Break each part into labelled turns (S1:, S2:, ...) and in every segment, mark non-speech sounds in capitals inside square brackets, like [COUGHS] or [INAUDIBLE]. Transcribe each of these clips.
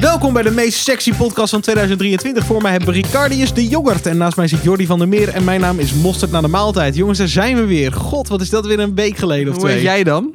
S1: Welkom bij de meest sexy podcast van 2023. Voor mij hebben we Ricardius de Jongert. En naast mij zit Jordi van der Meer. En mijn naam is Mosterd na de Maaltijd. Jongens, daar zijn we weer. God, wat is dat weer een week geleden of
S2: Hoe heet
S1: twee?
S2: jij dan?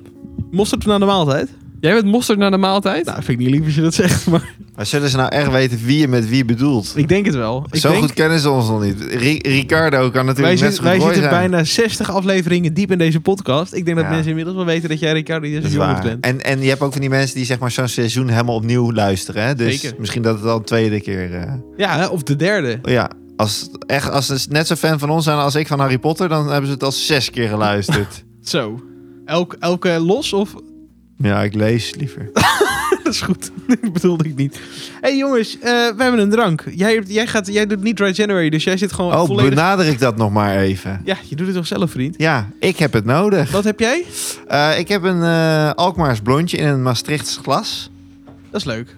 S1: Mosterd na de Maaltijd?
S2: Jij bent mosterd naar de maaltijd?
S1: Nou, vind ik niet lief als je dat zegt. [LAUGHS] Maar
S3: Maar zullen ze nou echt weten wie je met wie bedoelt?
S1: ik denk het wel. Ik
S3: Zo
S1: denk,
S3: goed kennen ze ons nog niet. Ri- Ricardo kan
S1: wij
S3: natuurlijk
S1: zitten,
S3: net zo goed
S1: wij
S3: Roy
S1: zitten
S3: zijn.
S1: bijna 60 afleveringen diep in deze podcast. Ik denk dat
S3: Ja.
S1: mensen inmiddels wel weten dat jij Ricardius
S3: Dat
S1: de
S3: is
S1: Jongert
S3: waar.
S1: bent.
S3: En, en je hebt ook van die mensen die zeg maar zo'n seizoen helemaal opnieuw luisteren. Hè? Dus
S1: Zeker.
S3: misschien dat het al een tweede keer... eh, oh
S1: Ja, hè, of de derde.
S3: ja, als, echt, als ze net zo fan van ons zijn als ik van Harry Potter... dan hebben ze het al zes keer
S1: [LAUGHS]
S3: geluisterd.
S1: Zo. Elk, elke los of
S3: ja, ik lees liever.
S1: [LAUGHS] Dat is goed. Dat bedoelde ik niet. hey jongens, eh, we hebben een drank. Jij, hebt- jij, gaat, jij doet niet Dry January, dus jij zit gewoon
S3: Oh,
S1: volledig...
S3: benader ik dat nog maar even.
S1: Ja, je doet het toch zelf, vriend?
S3: Ja, ik heb het nodig.
S1: Wat heb jij?
S3: Eh, ik heb een eh, Alkmaars blondje in een Maastrichts glas.
S1: Dat is leuk.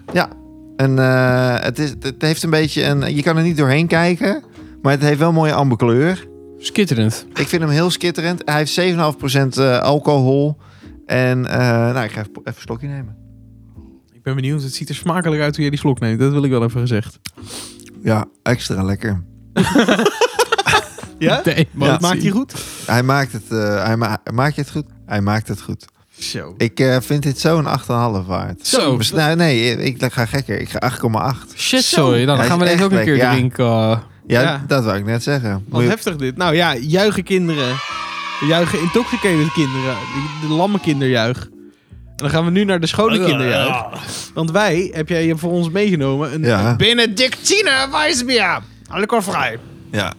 S3: En eh, het, is, het heeft een beetje een. Je kan er niet doorheen kijken, maar het heeft wel een mooie amberkleur.
S1: Nou,
S2: Skitterend.
S3: Ik vind hem heel skitterend. Hij heeft 7,5% eh, alcohol. En eh, nou, ik ga even, even een slokje nemen.
S1: Ik ben benieuwd. Het ziet er smakelijk uit hoe jij die slok neemt. Dat wil ik wel even gezegd.
S3: Ja, extra lekker.
S1: Ja?
S2: Nee,
S1: Maar dat maakt hij goed?
S3: Hij maakt het. eh, hij ma- maakt je het goed? Hij maakt het goed.
S1: Zo.
S3: Ik eh, vind dit zo'n 8,5 waard.
S2: Zo.
S3: Dus, nou, nee, ik, ik ga gekker. Ik ga 8,8.
S2: Shit,
S1: Zo.
S2: sorry. Nou,
S3: Hij
S2: dan
S3: is
S2: gaan we
S3: echt
S2: deze ook een keer
S3: lekker, ja.
S2: drinken. eh.
S3: Ja,
S1: Ja.
S3: dat wou ik net zeggen.
S1: Wat
S3: Moet je-
S1: heftig dit. Nou ja, juichen kinderen. Juichen intoxicated kinderen. De lamme kinderjuich. En dan gaan we nu naar de
S3: Ah.
S1: schone kinderjuich. Want wij, heb jij voor ons meegenomen, een
S3: Ja.
S1: Benedictine Weissbier. Alcoholvrij.
S3: Ja.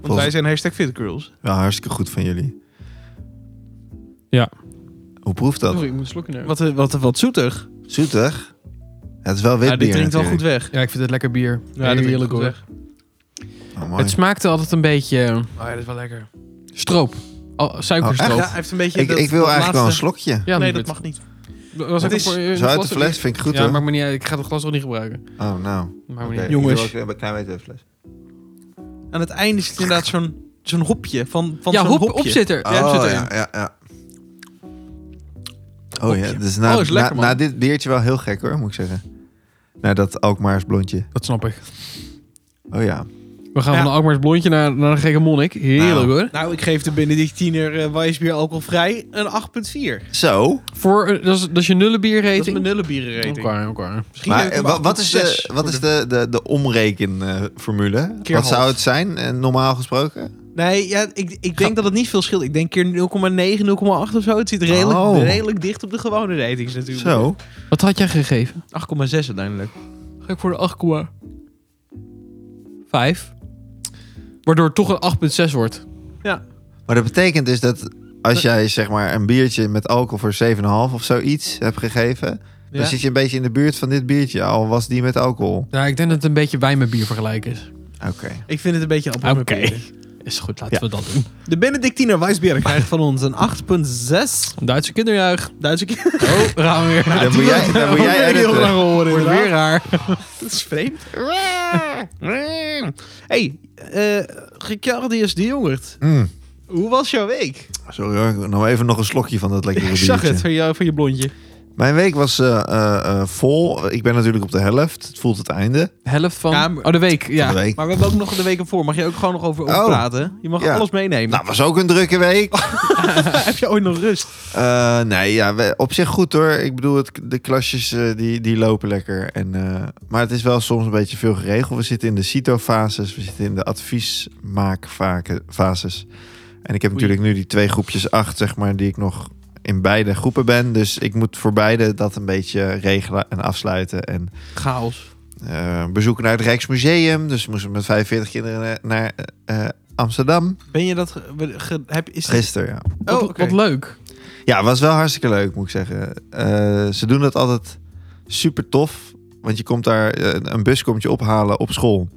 S1: Want wij zijn hashtag fitgirls.
S3: ja, hartstikke goed van jullie.
S2: Ja.
S3: Hoe proeft dat?
S2: ik moet een slokje nemen.
S1: Wat, eh, wat, wat zoetig.
S3: Zoetig. Het is wel wit
S1: Ja, dit drinkt wel goed weg.
S2: Ja, ik vind het lekker bier.
S1: Ja, dat heerlijk hoor.
S3: Oh,
S2: Het smaakte altijd een beetje eh,
S1: Oh ja, dat is wel lekker.
S2: stroop. Oh,
S3: Oh,
S2: suikerstroop.
S3: echt?
S1: Ja, hij heeft een beetje
S3: Ik,
S1: dat-
S3: ik wil
S1: dat
S3: eigenlijk wel een
S1: laatste-
S3: slokje.
S2: Ja,
S1: Nee,
S2: doe
S1: dat mag
S2: het.
S1: niet.
S2: Dat was
S1: Het
S2: ook
S1: is-
S2: voor- eh,
S3: Zo uit de
S2: plastic.
S3: fles vind ik goed
S2: Ja,
S3: hoor.
S2: maakt me niet uit. Ik ga het glas toch niet gebruiken.
S3: Oh, nou.
S2: Maakt me
S3: Oké,
S2: niet
S3: ik
S2: uit.
S1: Jongens.
S3: wil ook een klein beetje een fles.
S1: Aan het einde is het inderdaad zo'n zo'n hopje. Van, van
S2: Ja,
S1: zo'n
S2: hop,
S1: hopje.
S2: opzitter. Ja,
S3: Oh,
S2: opzitter.
S3: ja, ja, ja. Oh ja, dus na,
S1: Oh, is lekker,
S3: na,
S1: man.
S3: na dit biertje wel heel gek hoor, moet ik zeggen. Naar dat Alkmaars blondje.
S2: Dat snap ik.
S3: Oh ja.
S2: We gaan
S1: Ja.
S2: van een Alkmaars blondje naar, naar een gekke monnik. Heerlijk
S3: Nou.
S2: hoor.
S1: Nou, ik geef de Benedictiner uh, Weissbier alcoholvrij een 8,4.
S3: Zo.
S2: Voor, eh, dat, is, dat is je nullenbier
S1: Dat is mijn
S2: rating.
S1: nullenbierenrating.
S2: Oké, oké.
S1: Misschien
S3: Maar
S1: heb ik
S3: eh,
S1: hem
S3: wa- wat is
S1: 8,6
S3: de, wat is
S1: voor
S3: de, de, de omrekenformule?
S1: Keer
S3: Wat zou
S1: half.
S3: het zijn, eh, normaal gesproken?
S1: Nee, ja, ik, ik denk dat het niet veel scheelt. Ik denk keer 0,9, 0,8 of zo. Het zit redelijk,
S3: Oh.
S1: redelijk dicht op de gewone ratings natuurlijk.
S3: Zo.
S2: Wat had jij gegeven?
S1: 8,6 uiteindelijk.
S2: Ga ik voor de 8, 5. Waardoor het toch een 8,6 wordt.
S3: Maar dat betekent dus dat als jij zeg maar een biertje met alcohol voor 7,5 of zoiets hebt gegeven,
S1: Ja.
S3: dan zit je een beetje in de buurt van dit biertje, al was die met alcohol.
S2: Ja, ik denk dat het een beetje wijn met bier vergelijk is.
S3: Oké.
S1: Ik vind het een beetje appel
S2: Oké.
S1: met peren.
S2: Is goed, laten we dat doen.
S1: De Benedictiner Weissbier krijgt van ons een 8,6.
S2: Duitse kinderjuich.
S1: Duitse keer.
S2: [LAUGHS] Oh, gaan we weer.
S3: Dan moet
S2: [LAUGHS]
S3: jij, dan moet
S1: Dat wil
S3: jij
S1: ik heel graag
S3: editen.
S1: horen,
S2: Wordt weer
S1: inderdaad.
S2: raar.
S1: [LAUGHS] Dat is vreemd. hey, eh Ricardius de Jongert.
S3: Mm.
S1: Hoe was jouw week?
S3: Sorry hoor, nog even nog een slokje van dat lekkere
S1: [LAUGHS] Ik
S3: biertje.
S1: zag het van, jou, van je blondje.
S3: Mijn week was eh, eh, eh, vol. Ik ben natuurlijk op de helft. Het voelt het einde
S2: Helft van...
S1: Ja, maar-
S2: Oh, de week. Ja.
S3: van de week.
S1: Maar we hebben ook nog de week ervoor. Mag je ook gewoon nog over, over
S3: Oh.
S1: praten? Je mag
S3: Ja.
S1: alles meenemen.
S3: Nou, was ook een drukke week.
S1: [LAUGHS] Heb je ooit nog rust?
S3: Eh, nee, ja, we- op zich goed hoor. Ik bedoel, het, de klasjes eh, die, die lopen lekker. En, eh, maar het is wel soms een beetje veel geregeld. We zitten in de CITO-fases, we zitten in de adviesmaakfases. En ik heb natuurlijk nu die twee groepjes acht, zeg maar, die ik nog in beide groepen ben. Dus ik moet voor beide dat een beetje regelen en afsluiten. En
S1: Chaos.
S3: eh, bezoeken naar het Rijksmuseum. Dus we moesten met 45 kinderen naar eh, eh, Amsterdam.
S1: Ben je dat... ge- we- ge- heb, is dit-
S3: Gisteren, ja.
S1: Oh,
S2: Wat,
S1: oké.
S2: wat leuk.
S3: Ja, was wel hartstikke leuk, moet ik zeggen. Eh, ze doen dat altijd super tof. Want je komt daar, eh, een bus komt je ophalen op school.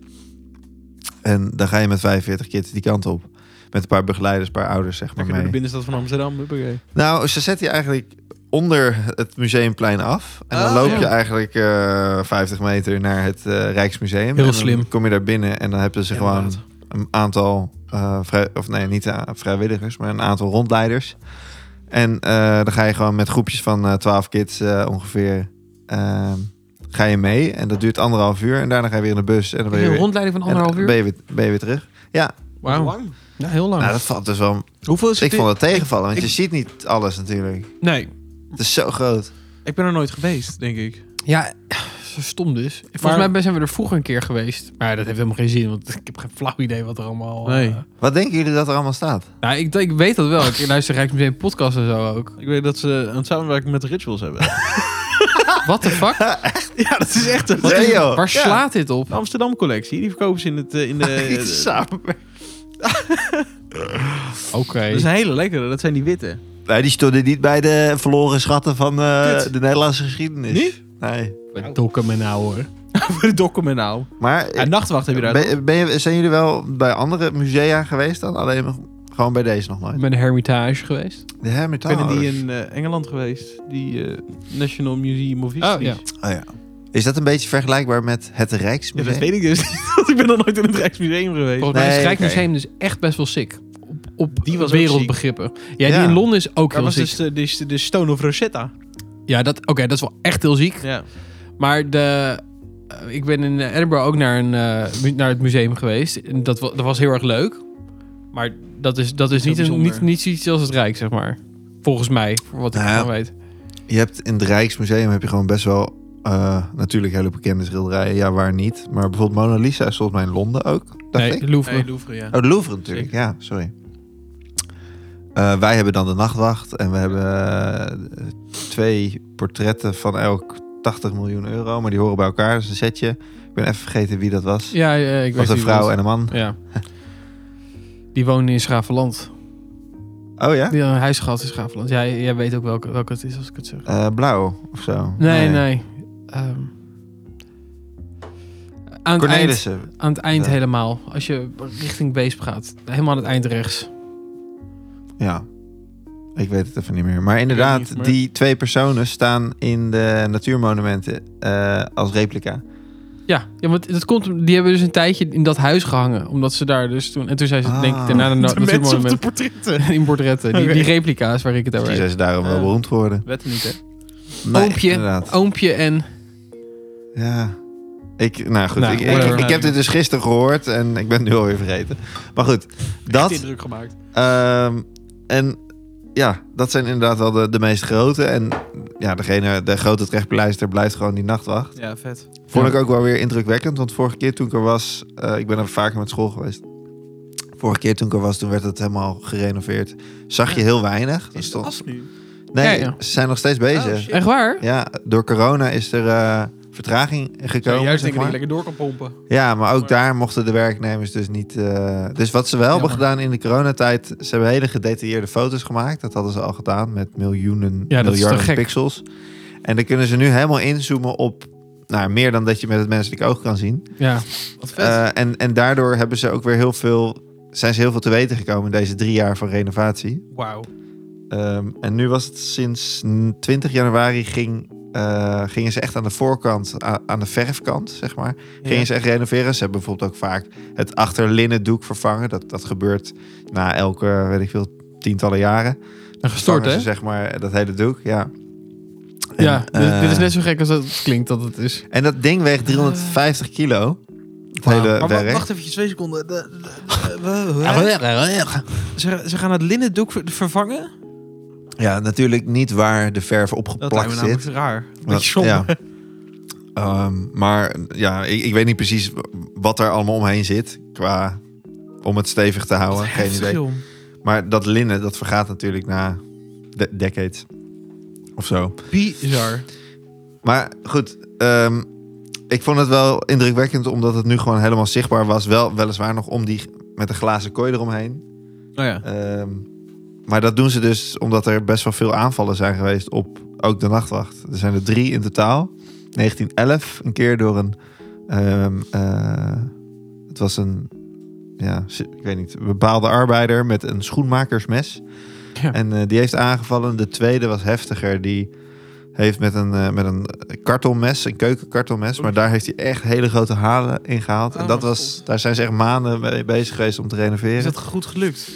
S3: En dan ga je met 45 kids die kant op. Met een paar begeleiders, een paar ouders, zeg maar.
S1: Lekker door de
S3: Mee.
S1: binnenstad van Amsterdam. Huppakee.
S3: Nou, ze zetten je eigenlijk onder het museumplein af. En dan
S1: Oh,
S3: loop
S1: ja.
S3: je eigenlijk eh, 50 meter naar het eh, Rijksmuseum.
S2: Heel
S3: en dan
S2: slim.
S3: kom je daar binnen en dan hebben ze gewoon
S1: Inderdaad.
S3: een aantal eh, vrij, of nee, niet eh, vrijwilligers, maar een aantal rondleiders. En eh, dan ga je gewoon met groepjes van eh 12 kids eh, ongeveer. eh, ga je mee en dat duurt anderhalf uur. En daarna ga je weer in de bus en dan ben je
S2: Een
S3: weer,
S2: rondleiding van
S3: en dan
S2: anderhalf uur?
S3: Ben je weer, ben je weer terug. Ja,
S2: Wauw.
S1: Lang.
S2: Ja, heel lang.
S3: nou, dat valt dus wel.
S1: Hoeveel is het?
S3: Ik vond het tegenvallen, want
S1: Oh. ik-
S3: je ziet niet alles natuurlijk.
S1: Nee,
S3: Het is zo groot.
S1: ik ben er nooit geweest, denk ik.
S2: Ja, zo stom dus. Volgens
S1: Maar-
S2: mij zijn we er vroeger een keer geweest. Maar dat heeft helemaal geen zin, want ik heb geen flauw idee wat er allemaal...
S1: Nee.
S2: eh,
S3: Wat denken jullie dat er allemaal staat?
S2: nou, ik, ik weet dat wel. Ik luister Rijksmuseum podcast en zo ook.
S1: Ik weet dat ze een samenwerking met de Rituals
S3: [LAUGHS]
S1: hebben.
S2: What the fuck?
S1: ja, dat is echt een...
S3: Wat is- joh.
S2: Waar
S3: Ja.
S2: slaat dit op?
S1: De Amsterdam collectie, die verkopen ze in, het, eh, in de...
S2: Oké.
S1: dat is een hele lekkere, dat zijn die witte.
S3: Nee, die stonden niet bij de verloren schatten van eh,
S1: Kut.
S3: de Nederlandse geschiedenis.
S1: Niet?
S3: [LAUGHS] Nee.
S2: Wat dokken me nou hoor.
S1: Voor de document nou.
S3: Maar
S1: En nachtwacht heb je daar.
S3: ben, ben je, zijn jullie wel bij andere musea geweest dan? Alleen maar gewoon bij deze nog
S2: Ik
S3: nooit.
S2: ben een hermitage geweest.
S3: De
S1: Ik ben
S3: Hermitage.
S1: in die in eh, Engeland geweest. Die eh, National Museum of History.
S2: Oh, ja.
S3: Oh ja. Is dat een beetje vergelijkbaar met het
S1: Ja,
S3: Rijksmuseum?
S1: dat weet ik dus niet. [LAUGHS] want ik ben nog nooit in het Rijksmuseum geweest.
S2: Volgens mij is het
S3: Nee,
S2: Rijksmuseum dus echt best wel sick. Op, op
S1: Die was ook
S2: wereldbegrippen. Ja,
S3: Ja.
S2: die in Londen is ook
S1: Dat
S2: heel
S1: was
S2: ziek.
S1: dus de, de, de Stone of Rosetta.
S2: Ja, dat, oké, dat is wel echt heel ziek.
S1: Ja.
S2: Maar de, eh, ik ben in Edinburgh ook naar, een, eh, mu- naar het museum geweest. En dat, wa- dat was heel erg leuk. Maar dat is, dat is
S1: Heel
S2: niet, een,
S1: bijzonder.
S2: niet, niet zoiets als het Rijk, zeg maar. Volgens mij, voor wat ik
S3: Nou ja.
S2: van weet.
S3: Je hebt in het Rijksmuseum heb je gewoon best wel eh, natuurlijk hele bekende schilderijen. Ja, waar niet. Maar bijvoorbeeld Mona Lisa is volgens mij in Londen ook. Dacht
S2: Nee,
S3: ik.
S2: de Louvre.
S1: Nee, Louvre, ja.
S3: Oh, de Louvre natuurlijk. Ja, sorry. Eh, wij hebben dan de nachtwacht en we hebben eh, twee portretten van elk 80 miljoen euro, maar die horen bij elkaar. Dat is een setje. Ik ben even vergeten wie dat was.
S2: Ja, ja, ik
S3: was
S2: weet wie
S3: een vrouw
S2: het
S3: en een man.
S2: was. Ja. [LAUGHS] Die woonde in Schaveland.
S3: Oh ja?
S2: Die had een huis gehad in Schaveland. Jij, jij weet ook welke, welke het is als ik het zeg.
S3: Eh, blauw of zo.
S2: Nee, nee. Ehm, aan, het eind,
S3: Cornelissen.
S2: aan het eind
S3: Ja.
S2: helemaal. Als je richting Weesp gaat. Helemaal aan het eind rechts.
S3: Ja. Ik weet het even niet meer. Maar inderdaad,
S1: niet, maar-
S3: die twee personen staan in de natuurmonumenten eh, als replica.
S2: Ja, ja want dat komt, om- die hebben dus een tijdje in dat huis gehangen. Omdat ze daar dus toen... En toen zijn ze
S3: Ah.
S2: denk ik
S1: [LAUGHS]
S2: daarna
S1: De
S2: na-
S1: mensen op de
S2: natuurmonument- [LAUGHS]
S1: portretten.
S2: in portretten. Die,
S1: Oké.
S2: die replica's waar ik het over
S3: Dus Die
S2: heb.
S3: zijn ze daarom wel
S1: Ja.
S3: beroemd geworden.
S1: Wet niet, hè?
S3: Nee,
S2: Oompje.
S3: Inderdaad.
S2: Oompje en...
S3: Ja. Ik, nou goed,
S2: Nou,
S3: ik, ik,
S2: whatever.
S3: ik, ik heb dit dus gisteren gehoord en ik ben het nu alweer vergeten. Maar goed, dat.
S1: Echt indruk gemaakt.
S3: ehm, en ja, dat zijn inderdaad wel de, de meest grote. En ja, degene, de grote terechtbeleister blijft gewoon die nachtwacht.
S1: Ja, vet.
S3: Vond
S2: Ja.
S3: ik ook wel weer indrukwekkend, want vorige keer toen ik er was, eh, ik ben er vaker met school geweest. Vorige keer toen ik er was, toen werd het helemaal gerenoveerd. Zag je heel weinig. Er
S1: Is het
S3: stond-
S1: af nu?
S3: Nee,
S2: Ja, ja.
S3: ze zijn nog steeds
S1: Oh,
S3: bezig.
S1: shit.
S2: Echt waar?
S3: ja, door corona is er eh, vertraging gekomen.
S1: juist
S3: zeg
S1: denk ik dat
S3: maar.
S1: je lekker door kan pompen.
S3: Ja, maar ook
S1: Maar-
S3: daar mochten de werknemers dus niet. eh, dus wat ze wel hebben
S2: Jammer.
S3: gedaan in de coronatijd, ze hebben hele gedetailleerde foto's gemaakt. Dat hadden ze al gedaan met miljoenen,
S2: Ja, dat is
S3: miljarden
S2: toch gek?
S3: pixels. En dan kunnen ze nu helemaal inzoomen op nou, meer dan dat je met het menselijk oog kan zien.
S2: Ja.
S1: Wat vet.
S3: Eh, en, en daardoor hebben ze ook weer heel veel, zijn ze heel veel te weten gekomen in deze drie jaar van renovatie.
S1: Wauw.
S3: Ehm, en nu was het sinds mm, 20 januari ging, eh, gingen ze echt aan de voorkant, a- aan de verfkant, zeg maar. Gingen ze echt renoveren. Ze hebben bijvoorbeeld ook vaak het achterlinnen doek vervangen. Dat, dat gebeurt na elke, weet ik veel, tientallen jaren.
S2: En gestort,
S3: Vervangen
S2: hè?
S3: ze, zeg maar, dat hele doek, ja. En,
S2: Ja, dit,
S3: eh,
S2: dit is net zo gek als dat het klinkt dat het is.
S3: En dat ding weegt 350 kilo. Het
S2: Wauw.
S3: hele
S1: Maar
S3: werk.
S1: wacht, wacht even twee seconden. De- de- de- we- we- Ze, ze gaan het linnendoek ver- vervangen?
S3: Ja, natuurlijk niet waar de verf
S1: Dat lijkt
S3: opgeplakt
S1: me
S3: zit.
S1: namelijk raar.
S3: Want-
S1: Beetje zonde.
S3: ja. Ehm, maar ja, ik, ik weet niet precies wat er allemaal omheen zit. Qua om het stevig te
S1: [LAUGHS]
S3: houden. Geen idee. Maar dat linnen, dat vergaat natuurlijk na de decades of zo.
S1: Bizar.
S3: Maar goed, ehm, ik vond het wel indrukwekkend omdat het nu gewoon helemaal zichtbaar was. Wel, weliswaar nog om die met een glazen kooi eromheen.
S1: Nou ja.
S3: Ehm, maar dat doen ze dus omdat er best wel veel aanvallen zijn geweest op ook de nachtwacht. Er zijn er drie in totaal. 1911 een keer door een. ehm, eh, het was een. Ja, ik weet niet. Een bepaalde arbeider met een schoenmakersmes.
S2: Ja.
S3: En eh, die heeft aangevallen. De tweede was heftiger. Die heeft met een, eh, met een kartonmes, een keukenkartonmes. Maar daar heeft hij echt hele grote halen in gehaald.
S1: Oh,
S3: en dat
S1: mijn
S3: was,
S1: god.
S3: daar zijn ze echt maanden mee bezig geweest om te
S1: Is
S3: renoveren.
S1: dat goed gelukt?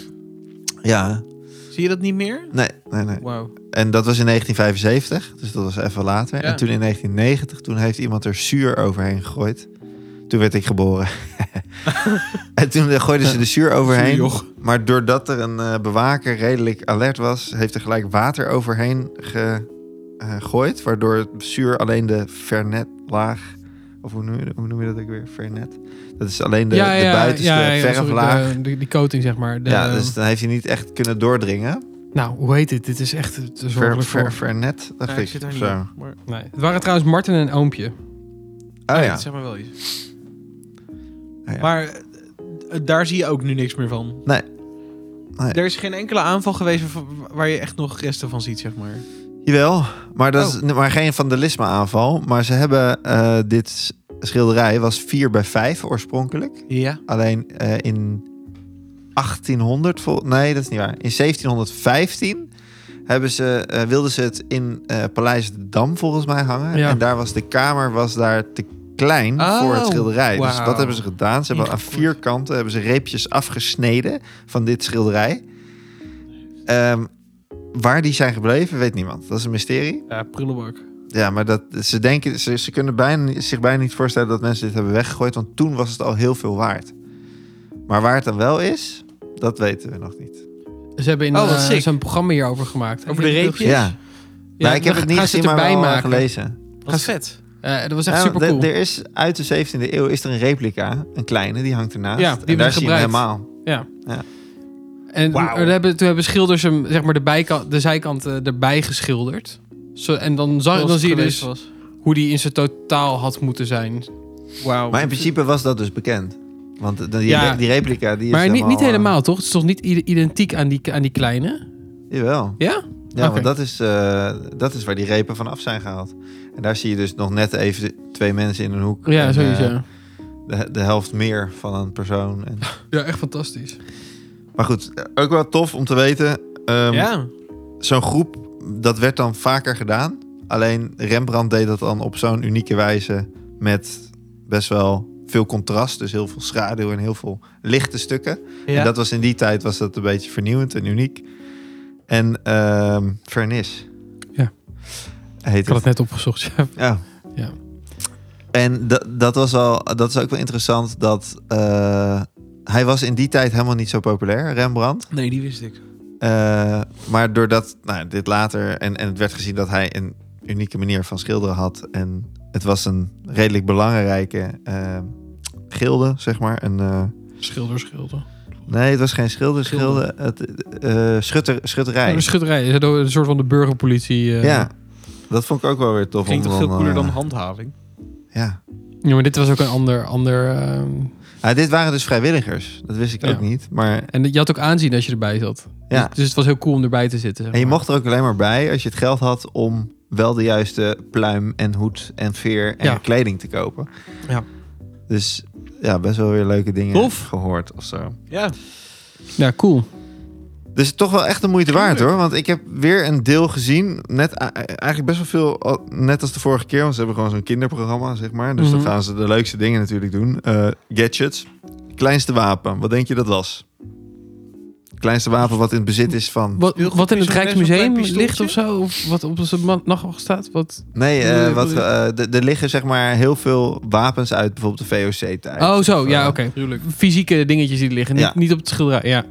S3: Ja.
S1: Zie je dat niet meer?
S3: Nee, nee, nee.
S2: Wauw.
S3: En dat was in 1975, dus dat was even later.
S2: Ja.
S3: En toen in 1990, toen heeft iemand er zuur overheen gegooid. Toen werd ik geboren. en toen eh, gooiden ze de zuur overheen.
S1: Joch.
S3: Maar doordat er een eh, bewaker redelijk alert was, heeft er gelijk water overheen ge- eh, gegooid. Waardoor het zuur alleen de vernetlaag, of hoe noem, je, hoe noem je dat ook weer? Vernet. Dat is alleen de, de buitenste
S2: sorry,
S3: verflaag.
S2: de- de- die coating, zeg maar. De-
S3: ja, dus dan heeft hij niet echt kunnen doordringen.
S2: Nou, hoe heet dit? Dit is echt te
S3: Ver,
S2: zorgelijk
S3: ver,
S2: voor.
S3: vernet, dacht
S1: Ja,
S3: ik.
S1: ik zit daar
S3: of
S1: niet
S3: zo.
S1: op, Maar...
S2: Nee. Het waren trouwens Martin en oompje.
S3: Oh
S1: Nee,
S3: ja.
S1: dat Zeg maar wel iets.
S3: Ja, ja.
S1: Maar eh, eh, daar zie je ook nu niks meer van.
S3: Nee. Nee.
S1: Er is geen enkele aanval geweest waarvan- waar je echt nog resten van ziet, zeg maar.
S3: Jawel, maar, dat is,
S1: Oh.
S3: maar geen vandalisme aanval. Maar ze hebben eh, dit schilderij was 4 bij 5 oorspronkelijk.
S1: Ja.
S3: Alleen eh, in 1800, vol- nee dat is niet waar. In 1715 hebben ze, eh, wilden ze het in eh Paleis de Dam volgens mij hangen.
S2: Ja.
S3: En daar was de kamer was daar te klein
S1: Oh,
S3: voor het schilderij. Dus
S1: wauw.
S3: wat hebben ze gedaan? Ze hebben aan
S1: Ingekort.
S3: vier kanten hebben ze reepjes afgesneden van dit schilderij. Ehm, waar die zijn gebleven, weet niemand. Dat is een mysterie.
S2: Ja, prullenbak.
S3: Ja, maar dat, ze, denken, ze, ze kunnen bijna, zich bijna niet voorstellen dat mensen dit hebben weggegooid, want toen was het al heel veel waard. Maar waar het dan wel is, dat weten we nog niet.
S2: Ze hebben in
S1: Oh, wat
S2: eh,
S1: sick.
S2: zo'n programma hierover gemaakt.
S1: Over de reepjes?
S3: Ja, nou, ik heb het niet gezien, maar wel eh, gelezen. Nou,
S1: Wat vet.
S2: Eh, dat was echt
S3: Ja,
S2: super
S3: want
S2: cool.
S3: er- Er is uit de 17e eeuw is er een replica, een kleine, die hangt ernaast.
S2: Ja, die
S3: en
S2: hebben
S3: daar
S2: ze
S3: zie je hem
S2: gebruikt.
S3: helemaal.
S2: Ja.
S3: Ja.
S2: En
S1: Wauw.
S2: er hebben, toen hebben schilders hem, zeg maar, de, bijkant, de zijkant eh, erbij geschilderd. Zo, en dan, zag,
S1: Zoals
S2: dan
S1: het
S2: zie je
S1: geweest
S2: dus
S1: was.
S2: hoe die in zijn totaal had moeten zijn.
S1: Wauw.
S3: Maar in principe was dat dus bekend. Want de- die,
S2: Oh, Ja.
S3: re- die replica, die is
S2: maar niet, niet
S3: eh,
S2: helemaal, toch? Het is toch niet i- identiek aan die, aan die kleine?
S3: eh, jawel.
S2: Ja?
S3: Ja,
S2: Oké.
S3: want dat is, eh, dat is waar die repen vanaf zijn gehaald. En daar zie je dus nog net even de- twee mensen in een hoek.
S2: Ja,
S3: en,
S2: sowieso.
S3: eh, de, de helft meer van een persoon. En...
S2: ja, echt fantastisch.
S3: Maar goed, eh, ook wel tof om te weten. ehm,
S1: ja.
S3: Zo'n groep, dat werd dan vaker gedaan. Alleen Rembrandt deed dat dan op zo'n unieke wijze met best wel veel contrast. Dus heel veel schaduw en heel veel lichte stukken. En dat was in die tijd was dat een beetje vernieuwend en uniek. En ehm vernis.
S2: Ja. Ik
S3: Heet
S2: had
S3: het.
S2: het net opgezocht, ja.
S3: Ja.
S2: Ja.
S3: En da- dat, was wel, dat is ook wel interessant dat eh, hij was in die tijd helemaal niet zo populair, Rembrandt.
S1: Nee, die wist ik.
S3: Eh, maar doordat nou, dit later en, en het werd gezien dat hij een unieke manier van schilderen had en het was een redelijk belangrijke eh, gilde, zeg maar. Een, eh,
S2: Schilder, schilder.
S3: nee, het was geen schilder,
S2: Gilde. Oh,
S3: schilde, het, eh, schutter, schutterij.
S2: Een schutterij, een een soort van de burgerpolitie. eh.
S3: ja, dat vond ik ook wel weer tof.
S1: Klinkt
S3: om
S1: toch veel
S3: dan,
S1: cooler
S3: eh,
S1: dan handhaving?
S3: Ja.
S2: Ja, maar dit was ook een ander... ander ehm,
S3: Ah, dit waren dus vrijwilligers, dat wist ik
S2: Ja.
S3: ook niet. Maar,
S2: En je had ook aanzien als je erbij zat.
S3: Ja.
S2: Dus, dus het was heel cool om erbij te zitten. zeg
S3: en je
S2: maar.
S3: mocht er ook alleen maar bij als je het geld had om wel de juiste pluim en hoed en veer en
S2: Ja.
S3: kleding te kopen.
S1: Ja.
S3: Dus ja, best wel weer leuke dingen
S1: Tof.
S3: gehoord of zo.
S1: Ja.
S2: Ja, cool.
S3: Dus toch wel echt de moeite waard hoor. Want ik heb weer een deel gezien. Net, a- eigenlijk best wel veel. al- Net als de vorige keer. Want ze hebben gewoon zo'n kinderprogramma, zeg maar. Dus
S2: Mhm.
S3: dan gaan ze de leukste dingen natuurlijk doen. Eh, gadgets. Kleinste wapen. Wat denk je dat was? Kleinste wapen wat in het bezit is van.
S2: Wat,
S1: Speelgoed
S2: wat in het
S1: is een
S2: Rijksmuseum
S1: best wel klein
S2: ligt of zo? Of wat op zijn man- nachtwacht staat? Wat?
S3: Nee, eh,
S2: Nee,
S3: wat,
S2: wat-
S3: eh, d- er liggen zeg maar heel veel wapens uit bijvoorbeeld de VOC-tijd.
S2: Oh, zo.
S3: Eh,
S2: Ja, oké.
S1: Tuurlijk.
S2: Fysieke dingetjes die er liggen.
S3: Ja.
S2: Niet, niet op het schilderij. Ja.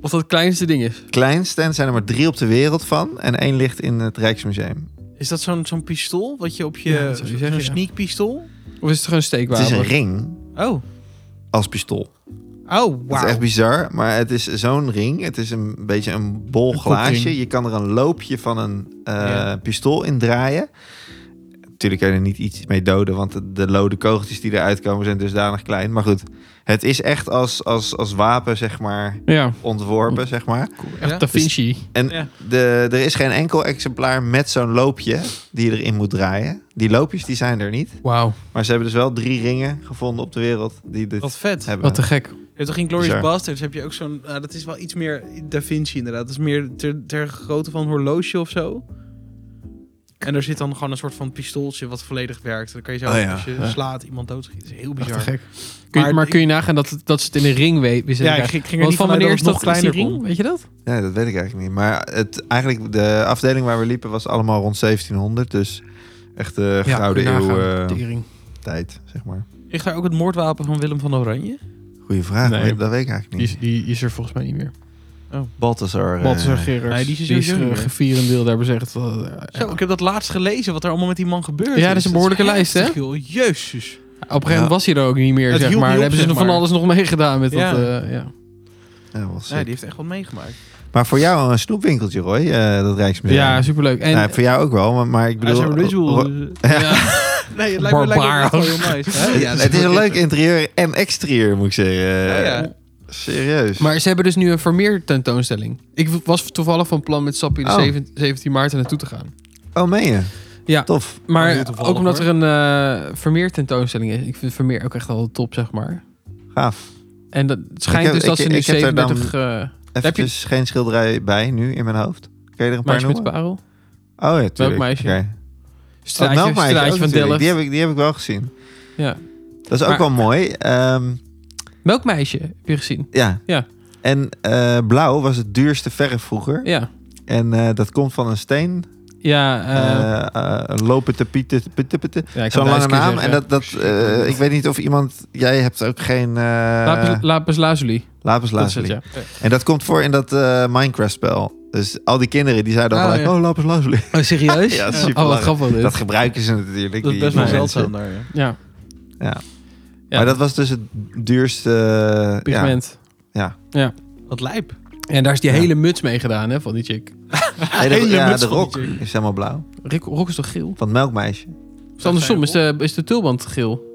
S2: Of dat het kleinste ding is.
S3: Kleinste, en er zijn er maar drie op de wereld van. En één ligt in het Rijksmuseum.
S1: Is dat zo'n zo'n pistool? Wat je op je...
S2: Ja, dat zou
S1: zo'n
S2: je zeggen, ja.
S1: sneak pistool?
S2: Of is het gewoon een
S3: Het
S2: steekwapen?
S3: is een ring
S1: Oh.
S3: als pistool.
S1: Oh,
S3: Het is echt
S1: wauw.
S3: bizar, maar het is zo'n ring. Het is een beetje een bol
S2: Een
S3: glaasje.
S2: kopring.
S3: Je kan er een loopje van een eh,
S1: Ja.
S3: pistool in draaien. Natuurlijk kun je er niet iets mee doden, want de, de lode kogeltjes die eruit komen zijn dusdanig klein. Maar goed, het is echt als, als, als wapen, zeg maar,
S2: Ja. Hm. Dus-
S3: ontworpen, zeg maar.
S2: Echt
S1: Ja?
S2: Da Vinci.
S3: En
S1: Ja.
S3: de, er is geen enkel exemplaar met zo'n loopje die je erin moet draaien. Die loopjes die zijn er niet.
S2: Wauw.
S3: Maar ze hebben dus wel drie ringen gevonden op de wereld die dit
S1: Wat vet.
S3: hebben.
S2: Wat te gek.
S1: Je hebt toch in Glorious
S3: Bizar.
S1: Bastards heb je ook zo'n... ah, dat is wel iets meer Da Vinci inderdaad. Dat is meer ter, ter grootte van een horloge of zo. En er zit dan gewoon een soort van pistooltje wat volledig werkt. Dan kan je zo,
S3: Oh ja,
S1: als je
S3: ja.
S1: slaat, iemand doodschieten. Dat is heel
S4: Echt te
S1: bizar.
S4: gek.
S2: Kun je,
S1: Maar
S2: maar,
S1: ik-
S2: kun je nagaan dat, dat ze het in een ring we- we-
S1: Ja,
S2: zetten?
S1: ik ging- ging er
S2: Want
S1: niet
S2: van
S1: vanuit
S2: wanneer
S1: dat het
S2: is dat
S1: nog kleiner
S2: is die ring?
S1: kon.
S2: Weet je dat?
S3: Ja, dat weet ik eigenlijk niet. Maar het, eigenlijk de afdeling waar we liepen was allemaal rond 1700. Dus echt de gouden
S2: kun je
S3: eeuw
S2: nagaan.
S3: eh,
S2: Tering.
S3: tijd, zeg maar.
S1: Ligt daar ook het moordwapen van Willem van Oranje?
S3: Goeie vraag,
S4: Nee.
S3: maar dat weet ik eigenlijk
S4: Die
S3: niet.
S4: is, die is er volgens mij niet meer.
S3: Balthazar. eh,
S4: Balthasar Gerrard.
S1: nee, die is er
S4: die is
S1: sowieso niet
S4: ge-
S1: meer.
S4: gevierendeel daar bezegd. eh,
S1: Zo, ik heb dat laatst gelezen, wat er allemaal met die man gebeurd is.
S2: Ja, dat is een behoorlijke lijst, hè?
S1: heftig, joh. Jezus.
S2: Op een gegeven moment
S3: Ja.
S2: was hij er ook niet meer,
S1: Het
S2: zeg
S1: hield
S2: maar.
S1: niet
S2: Daar
S1: op,
S2: hebben ze
S1: zeg
S2: nog van
S1: maar.
S2: alles nog meegedaan met
S1: Ja.
S2: dat... eh, ja.
S3: ja, wel sick.
S1: Ja, die heeft echt wat meegemaakt.
S3: Maar voor jou een snoepwinkeltje, Roy, eh, dat Rijksmuseum.
S2: ja, superleuk. En,
S3: Nou, voor jou ook wel, maar, maar ik
S1: Hij is
S3: bedoel...
S1: een ritual. eh,
S2: ja.
S1: Nee, het lijkt me, lijkt me
S2: Barbaar
S1: echt wel heel nice. hè? Ja, dat
S3: het is een
S1: wel
S3: leuk
S1: kicken.
S3: interieur en exterieur, moet ik zeggen.
S1: Oh Ja, ja.
S2: [LAUGHS]
S3: Serieus.
S2: Maar ze hebben dus nu een vermeer tentoonstelling. Ik was toevallig van plan met Sappie de
S3: Oh.
S2: 17 17 maart er naartoe te gaan.
S3: Oh, meen je?
S2: Ja.
S3: Tof.
S2: Maar
S4: Heel toevallig,
S2: ook omdat
S4: hoor.
S2: er een eh Vermeer tentoonstelling is. Ik vind Vermeer ook echt al top, zeg maar.
S3: Gaaf.
S2: En dat het schijnt
S3: heb-
S2: dus dat
S3: ik-
S2: ze nu
S3: ik heb daar dan
S2: 37... eh Heb je-
S3: Even geen schilderij bij nu in mijn hoofd. Kun je er een paar
S2: meisje met de
S3: noemen?
S2: parel.
S3: Oh ja, tuurlijk.
S2: meisje?
S3: Oké.
S2: Straatje,
S3: Oh, Melkmeisje
S2: straatje
S3: ook
S2: van Delft.
S3: natuurlijk. Die heb, ik, die heb ik wel gezien.
S2: Ja.
S3: Dat is ook
S2: Maar-
S3: wel mooi. Ehm,
S2: Melkmeisje, heb je gezien?
S3: ja.
S2: Ja.
S3: En eh, blauw was het duurste verf vroeger.
S2: Ja.
S3: En eh, dat komt van een steen.
S2: Ja, eh,
S3: eh, eh, lopen te pieten. pieten, pieten.
S2: ja, ik
S3: Zo'n
S2: kan
S3: lange
S2: het duizend keer
S3: naam. En
S2: zeggen.
S3: dat, dat, eh, ik weet niet of iemand... Jij hebt ook geen... eh
S2: Lapis, lapis lazuli.
S3: lapis
S2: Dat is
S3: lazuli.
S2: het, ja.
S3: En dat komt voor in dat eh, Minecraft-spel. Dus al die kinderen die zeiden
S2: Ah,
S3: gelijk...
S2: ja.
S3: Oh, lapis lazuli.
S2: Oh, serieus?
S3: [LAUGHS] Ja, dat is
S2: oh,
S3: superleuk.
S2: wat grappig. dit.
S3: Dat gebruiken ze natuurlijk.
S1: Dat is
S3: die
S1: best wel
S3: mensen.
S1: zeldzaam daar, ja.
S2: ja.
S3: Ja.
S2: Ja,
S3: Maar dat was dus het duurste... eh, ja.
S2: pigment.
S1: Wat lijp.
S2: En daar is die
S3: Ja.
S2: hele muts mee gedaan, hè, van die chick.
S3: Nee,
S1: [LAUGHS]
S3: de-
S1: Hele
S3: ja,
S1: muts
S3: de
S1: van
S3: rok
S1: die chick.
S3: is helemaal blauw.
S2: Rick, Rock is toch geel?
S3: Van het melkmeisje.
S2: Dus andersom is de, is de tulband geel.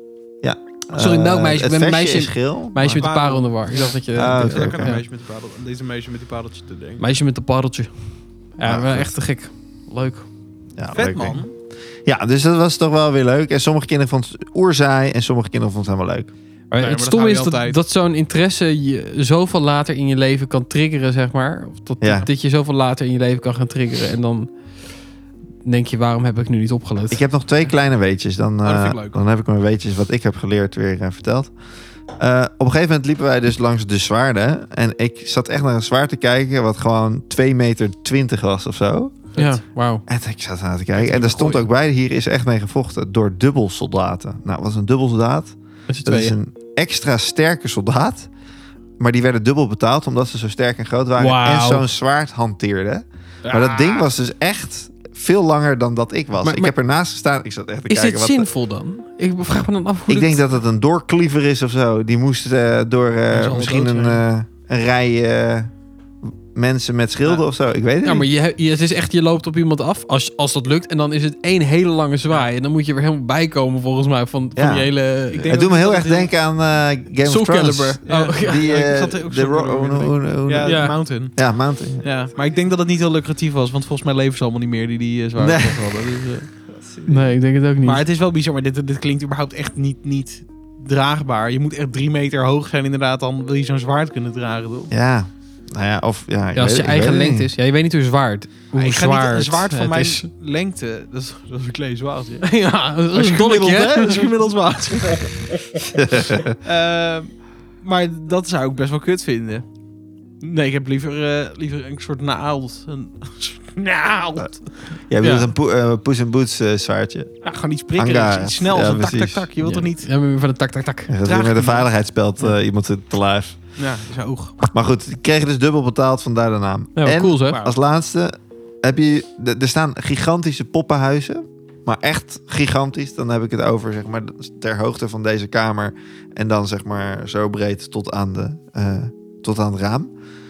S2: Oh, Sorry,
S3: Eh,
S2: melkmeisje. Ik
S3: Het
S2: ben
S3: versje
S2: meisje-
S3: is geel.
S2: Meisje met de
S1: parel.
S2: parel in de war. Ik dacht dat je...
S3: Ah, oké,
S1: Ja,
S3: oké.
S1: kan een meisje met de parel, deze meisje met die pareltje te denken.
S2: Meisje met de pareltje. Ja,
S3: Ja,
S2: wel
S3: goed.
S2: echt te gek. Leuk.
S3: Ja,
S1: Vet
S3: leuk ding.
S1: man.
S3: Ja, dus dat was toch wel weer leuk. En sommige kinderen vonden het oerzaai en sommige kinderen vonden het helemaal leuk.
S2: Maar
S1: maar
S2: het
S1: dat
S2: stomme
S1: hou je
S2: is dat,
S1: altijd.
S2: dat zo'n interesse je zoveel later in je leven kan triggeren, zeg maar. Of dat,
S3: Ja.
S2: dat je zoveel later in je leven kan gaan triggeren. En dan denk je, waarom heb ik nu niet opgelet?
S3: Ik heb nog twee kleine weetjes. Dan,
S1: dat vind ik
S3: eh,
S1: leuk.
S3: dan heb ik mijn weetjes wat ik heb geleerd weer eh, verteld. Eh, op een gegeven moment liepen wij dus langs de zwaarden. En ik zat echt naar een zwaard te kijken wat gewoon 2,20 meter was of zo.
S2: Ja, wauw.
S3: En ik zat aan te kijken. En daar stond ook bij, hier is echt mee gevochten door dubbelsoldaten. Nou, wat is een dubbelsoldaat?
S2: Met z'n
S3: Dat is
S2: tweeën.
S3: een extra sterke soldaat. Maar die werden dubbel betaald omdat ze zo sterk en groot waren.
S2: Wauw.
S3: En zo'n zwaard hanteerden. Maar
S1: Ah.
S3: dat ding was dus echt veel langer dan dat ik was.
S2: Maar-
S3: ik
S2: maar-
S3: heb ernaast gestaan. Ik zat echt te
S2: Is
S3: kijken.
S2: dit
S3: wat-
S2: zinvol dan? Ik vraag me dan af hoe
S3: ik denk dat het een doorkliever is of zo. Die moest eh, door eh,
S1: zal wel
S3: misschien
S1: dood
S3: een, eh, een rij eh, mensen met schilden of zo. Ik weet het
S2: Ja,
S3: niet.
S2: maar je, he- je- het is echt, je loopt op iemand af als, als dat lukt. En dan is het één hele lange zwaai. En dan moet je weer helemaal bijkomen volgens mij van, van
S3: Ja.
S2: die hele...
S1: Ik denk
S3: het doet me
S1: dat
S3: heel
S1: het
S3: erg
S1: heel-
S3: denken aan eh, Game
S2: Soul
S3: of Thrones. [LAUGHS]
S2: Calibur.
S1: Ja.
S2: Oh, ja. [LAUGHS]
S3: Die,
S1: Ja, ik
S3: eh,
S1: zat er ook
S3: de
S1: Soul
S3: Ro-
S1: Calibur in te
S3: hoe- hoe- hoe-
S1: Ja,
S3: hoe-
S2: Ja.
S1: Mountain.
S3: ja, Mountain.
S1: Ja, maar ik denk dat het niet heel lucratief was, want volgens mij leven ze allemaal niet meer die die eh, zwaar
S3: Nee.
S1: gevochten hadden. Dus, eh,
S2: Nee, ik denk het ook niet.
S1: Maar het is wel bizar, maar dit, dit klinkt überhaupt echt niet, niet draagbaar. Je moet echt drie meter hoog zijn inderdaad, dan wil je zo'n zwaard kunnen dragen. Toch?
S3: Ja. Nou ja, of... Ja, ik
S2: Ja, als je
S3: weet- ik weet
S2: eigen
S3: het
S2: lengte
S3: niet.
S2: is. Ja, je weet niet hoe zwaard. Hoe
S1: Maar ik ga
S2: zwaar
S1: niet een zwaard
S2: het
S1: van mijn [LAUGHS]
S2: is. [LAUGHS]
S1: lengte, dat is, dat is een klein zwaardje.
S2: ja, dat is een
S1: gemiddeld,
S2: dolletje.
S1: hè?
S2: hè?
S1: Dat is gemiddeld
S3: [LAUGHS]
S1: zwaard. Ehm, maar dat zou ik best wel kut vinden. Nee, ik heb liever, eh, liever een soort naald. Een [LAUGHS] soort
S3: Eh,
S1: naald.
S3: Jij bedoelt
S2: Ja.
S3: een poes en Puss in Boots eh, zwaardje.
S1: Ja, gewoon iets prikkerigs,
S3: Hangar.
S1: iets snel.
S3: Ja,
S1: zo tak, tak,
S3: precies.
S1: tak. Je wilt
S2: Ja.
S1: er niet...
S2: Ja, maar van de tak, tak, tak.
S3: En dat
S1: Draag
S3: weer met een
S1: iemand.
S3: veiligheidsspeld eh, iemand te, te lijf.
S1: Ja, zo oog.
S3: Maar goed, die kregen dus dubbel betaald, vandaar de naam.
S2: Ja, wat
S3: en
S2: cool, hè?
S1: maar-
S3: als laatste heb je... d- Er staan gigantische poppenhuizen. Maar echt gigantisch. Dan heb ik het over, zeg maar, ter hoogte van deze kamer. En dan, zeg maar, zo breed tot aan, de, eh, tot aan het raam.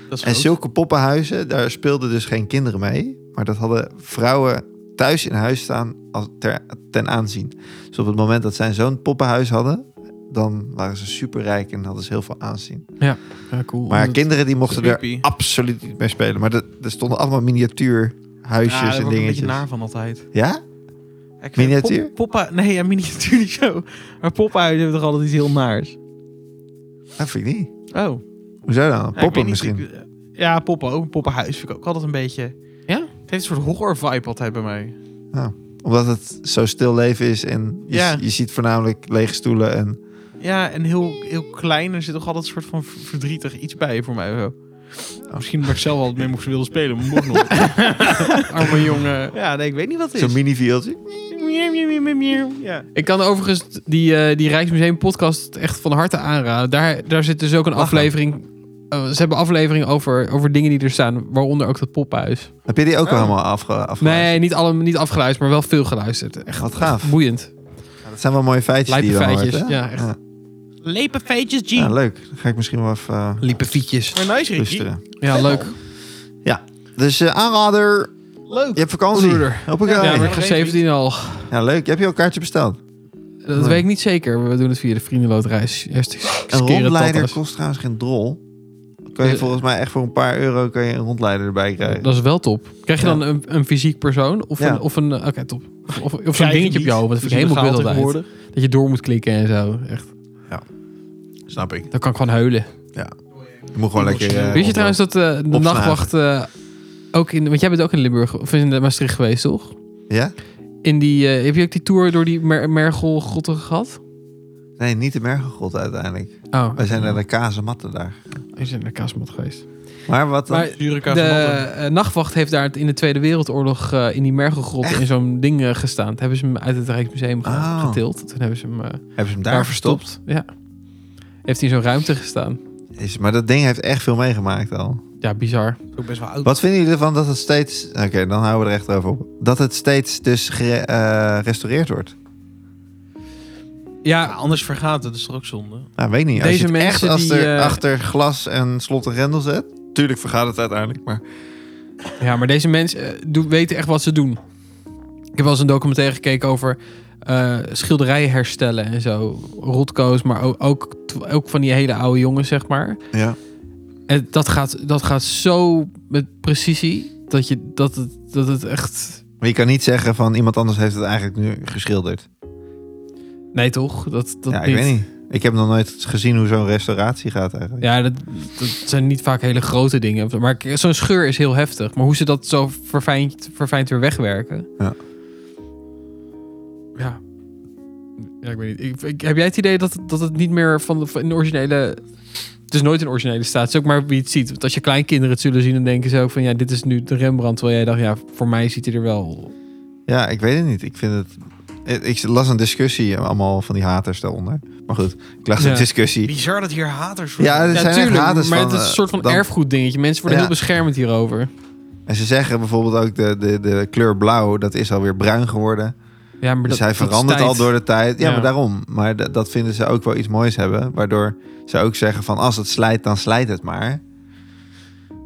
S1: Dat is
S3: En
S1: groot.
S3: zulke poppenhuizen, daar speelden dus geen kinderen mee. Maar dat hadden vrouwen thuis in huis staan als ter, ten aanzien. Dus op het moment dat zij zo'n poppenhuis hadden, dan waren ze superrijk en hadden ze heel veel aanzien.
S2: Ja, cool.
S3: Maar
S2: Omdat-
S3: kinderen die mochten er
S1: creepy.
S3: absoluut niet mee spelen. Maar de- er stonden allemaal miniatuur
S1: Ja, daar
S3: huisjes
S1: word
S3: en
S1: ik een beetje
S3: dingetjes.
S1: naar van altijd.
S3: Ja?
S1: Ja, ik vind
S3: Miniatuur?
S1: pop- poppa, nee, ja, miniatuur [LAUGHS] niet zo. Maar poppenhuizen hebben toch altijd iets heel naars?
S3: Dat vind ik niet.
S1: Oh.
S3: Hoezo dan?
S1: Ja, ik weet
S3: Poppen
S1: niet,
S3: misschien.
S1: ik- ja, poppen ook. Een poppenhuis vind ik ook altijd een beetje...
S2: Ja?
S1: Het heeft een soort horror vibe altijd bij mij.
S3: Omdat het zo stil leven is en je,
S1: Ja.
S3: je ziet voornamelijk lege stoelen. En,
S1: Ja, en heel, heel klein. Er zit toch altijd een soort van v- verdrietig iets bij voor mij. Zo. Nou, Misschien dat ik zelf altijd mee moest willen spelen, maar moet [LAUGHS] nog.
S2: Arme jongen.
S1: Ja, nee, ik weet niet wat het
S3: Zo'n
S1: is.
S3: mini-viooltje.
S1: Miauw, miauw, miauw, miauw. Ja.
S2: Ik kan overigens die, eh, die Rijksmuseum podcast echt van harte aanraden. Daar, daar zit dus ook een
S3: Lachen.
S2: aflevering. eh, ze hebben aflevering over, over dingen die er staan, waaronder ook dat pophuis.
S3: Heb je die ook
S1: Oh.
S3: al helemaal afge afgeluisterd?
S2: Nee, niet, alle, niet afgeluisterd, maar wel veel geluisterd. Echt
S3: Wat gaaf.
S2: boeiend.
S3: Dat zijn wel mooie feitjes
S2: Lijpe
S3: die je dan hoort,
S2: feitjes,
S3: hè?
S2: ja, echt.
S1: Lepe feitjes, G.
S3: Ja, leuk. Dan ga ik misschien wel even eh,
S2: Liepe fietjes.
S1: Maar nice, Ricky.
S3: luisteren.
S2: Ja, leuk.
S3: Dus eh, aanrader,
S1: Leuk.
S3: je hebt vakantie.
S2: Broeder.
S3: Hoppakee.
S2: Ja, maar
S3: Ja,
S2: ik ga 17 al.
S3: leuk. Heb je al een kaartje besteld?
S2: Dat weet ik niet zeker. We doen het via de vriendenloterij. Eerst
S3: Een
S2: skeren
S3: rondleider
S2: tatas.
S3: kost trouwens geen drol. Kan je
S2: Eh,
S3: volgens mij echt voor een paar euro kan je een rondleider erbij krijgen.
S2: Dat is wel top. Krijg je
S3: Ja.
S2: dan een, een fysiek persoon? Of
S3: Ja.
S2: een... Of een eh, Oké, top. Of, of, of zo'n dingetje op jou.
S1: Dus
S2: Wat ik helemaal wild altijd. Dat je door moet klikken en zo. Echt.
S3: Snap ik.
S2: Dan kan ik gewoon huilen.
S3: Je moet gewoon lekker... eh,
S2: Weet je
S3: rondlopen.
S2: trouwens dat eh, de nachtwacht... eh, ook in, want jij bent ook in Limburg of in eh, Maastricht geweest, toch?
S3: Ja?
S2: In die, eh, heb je ook die tour door die mer Mergelgrotten gehad?
S3: Nee, niet de Mergelgrot uiteindelijk.
S2: Oh,
S3: Wij zijn naar de Kazematten daar.
S2: we zijn naar Kaasmat geweest.
S3: Maar wat dan?
S2: Maar De eh, nachtwacht heeft daar in de Tweede Wereldoorlog eh, in die mergelgrot in zo'n ding eh, gestaan. Toen hebben ze hem uit het Rijksmuseum ge-
S3: Oh.
S2: getild. Toen hebben ze hem eh, daar,
S3: Hebben ze hem daar verstopt?
S2: Ja. Heeft hij in zo'n ruimte gestaan.
S3: Is, maar dat ding heeft echt veel meegemaakt al.
S2: Ja, bizar.
S1: Ook best wel oud.
S3: Wat vinden jullie ervan dat het steeds... Oké, dan houden we er echt over op. Dat het steeds dus gerestaureerd wordt.
S2: Ja,
S1: Ja, anders vergaat het. Dat is toch ook zonde?
S3: Nou, weet ik niet.
S2: Deze
S3: als je het echt
S2: mensen
S3: als
S2: die,
S3: er
S2: eh,
S3: achter glas en slot en grendel zet... Tuurlijk vergaat het uiteindelijk, maar...
S2: ja maar deze mensen eh, doen- weten echt wat ze doen. Ik heb wel eens een documentaire gekeken over eh schilderijen herstellen en zo. Rotkoos, maar ook, ook, ook van die hele oude jongens, zeg maar.
S3: Ja.
S2: En dat gaat, dat gaat zo met precisie dat, je, dat, het, dat het echt...
S3: Maar je kan niet zeggen van iemand anders heeft het eigenlijk nu geschilderd.
S2: Nee, toch? Dat, dat
S3: ja, ik
S2: niet.
S3: weet niet. Ik heb nog nooit gezien hoe zo'n restauratie gaat eigenlijk.
S2: Ja, dat, dat zijn niet vaak hele grote dingen. Maar k- zo'n scheur is heel heftig. Maar hoe ze dat zo verfijnd, verfijnd weer wegwerken.
S3: Ja.
S2: Ja. Ja, ik weet niet. Ik, ik- heb jij het idee dat, het- dat het niet meer van, de- van een originele... Het is nooit een originele staat. Het is ook maar wie het ziet. Want als je kleinkinderen het zullen zien, dan denken ze ook van... Ja, dit is nu de Rembrandt. Terwijl jij dacht, ja, voor mij ziet hij er wel...
S3: Ja, ik weet het niet. Ik vind het. ik- Ik las een discussie, eh, allemaal van die haters daaronder. Maar goed, ik las
S2: Ja.
S3: een discussie.
S1: Bizar dat hier haters voor
S3: Ja, er
S2: Ja,
S3: zijn echt
S2: tuurlijk,
S3: haters
S2: maar
S3: van,
S2: het is een
S3: eh,
S2: soort van
S3: dan-
S2: erfgoed dingetje. Mensen worden
S3: Ja.
S2: heel beschermend hierover.
S3: En ze zeggen bijvoorbeeld ook de, de, de kleur blauw, dat is alweer bruin geworden.
S2: Ja, maar
S3: dus
S2: dat,
S3: hij
S2: dat is
S3: verandert
S2: tijd.
S3: al door de tijd. Ja,
S2: Ja.
S3: maar daarom. Maar d- dat vinden ze ook wel iets moois hebben. Waardoor ze ook zeggen van als het slijt, dan slijt het maar.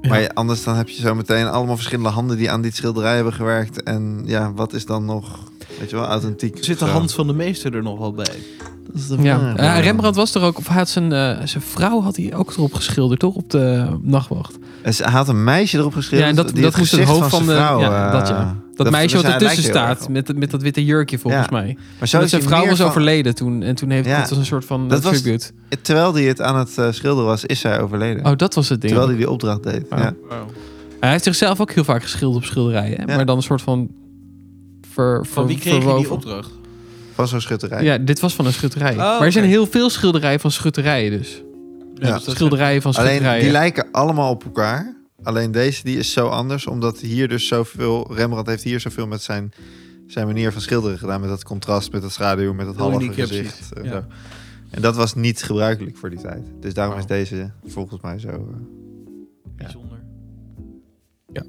S2: Ja.
S3: Maar je- anders dan heb je zo meteen allemaal verschillende handen die aan dit schilderij hebben gewerkt. En ja, wat is dan nog, weet je wel, authentiek?
S1: Zit de
S3: Zo.
S1: hand van de meester er nog wel bij?
S3: Dat is de
S2: Ja.
S3: vraag.
S2: Ja, Rembrandt was er ook, of hij had zijn, eh, zijn vrouw had hij ook erop geschilderd, toch? Op de nachtwacht.
S3: En ze hij had een meisje erop geschreven.
S2: Ja, en dat-
S3: die
S2: dat moest het
S3: gezicht
S2: hoofd van
S3: zijn
S2: de-
S3: vrouw,
S2: ja,
S3: eh,
S2: dat ja. Dat, meisje
S3: dus
S2: wat
S3: hij
S2: ertussen
S3: lijkt heel erg
S2: staat,
S3: op.
S2: met, dat- met dat witte jurkje volgens
S3: Ja.
S2: mij.
S3: Maar zo
S2: Dat
S3: is
S2: zijn
S3: hij
S2: vrouw
S3: meer
S2: was
S3: van-
S2: overleden toen. En toen heeft
S3: Ja.
S2: dat was een soort van eh,
S3: Dat was-
S2: tribute.
S3: Terwijl hij het aan het eh, schilderen was, is zij overleden.
S2: Oh, dat was het ding.
S3: terwijl hij die opdracht deed.
S2: Oh.
S3: Ja.
S2: Hij heeft zichzelf ook heel vaak geschilderd op schilderijen. hè,
S3: Ja.
S2: Maar dan een soort van... Ver,
S1: Van
S2: ver-
S1: wie kreeg je die
S2: verwoven.
S1: opdracht?
S3: Van zo'n schutterij.
S2: Ja, dit was van een schutterij.
S1: Oh,
S2: maar er
S1: oké.
S2: zijn heel veel schilderijen van schutterijen dus.
S3: Ja.
S1: dus dat-
S2: Schilderijen van
S3: Alleen
S2: schutterijen.
S3: die lijken allemaal op elkaar. Alleen deze die is zo anders, omdat hier dus zoveel. Rembrandt heeft hier zoveel met zijn, zijn manier van schilderen gedaan. Met dat contrast, met dat schaduw, met dat
S1: Heel
S3: halve
S1: uniek, ja, precies.
S3: gezicht.
S2: Ja.
S3: en zo. En dat was niet gebruikelijk voor die tijd. Dus daarom
S2: Wow.
S3: is deze volgens mij zo. eh,
S1: Bijzonder. Ja.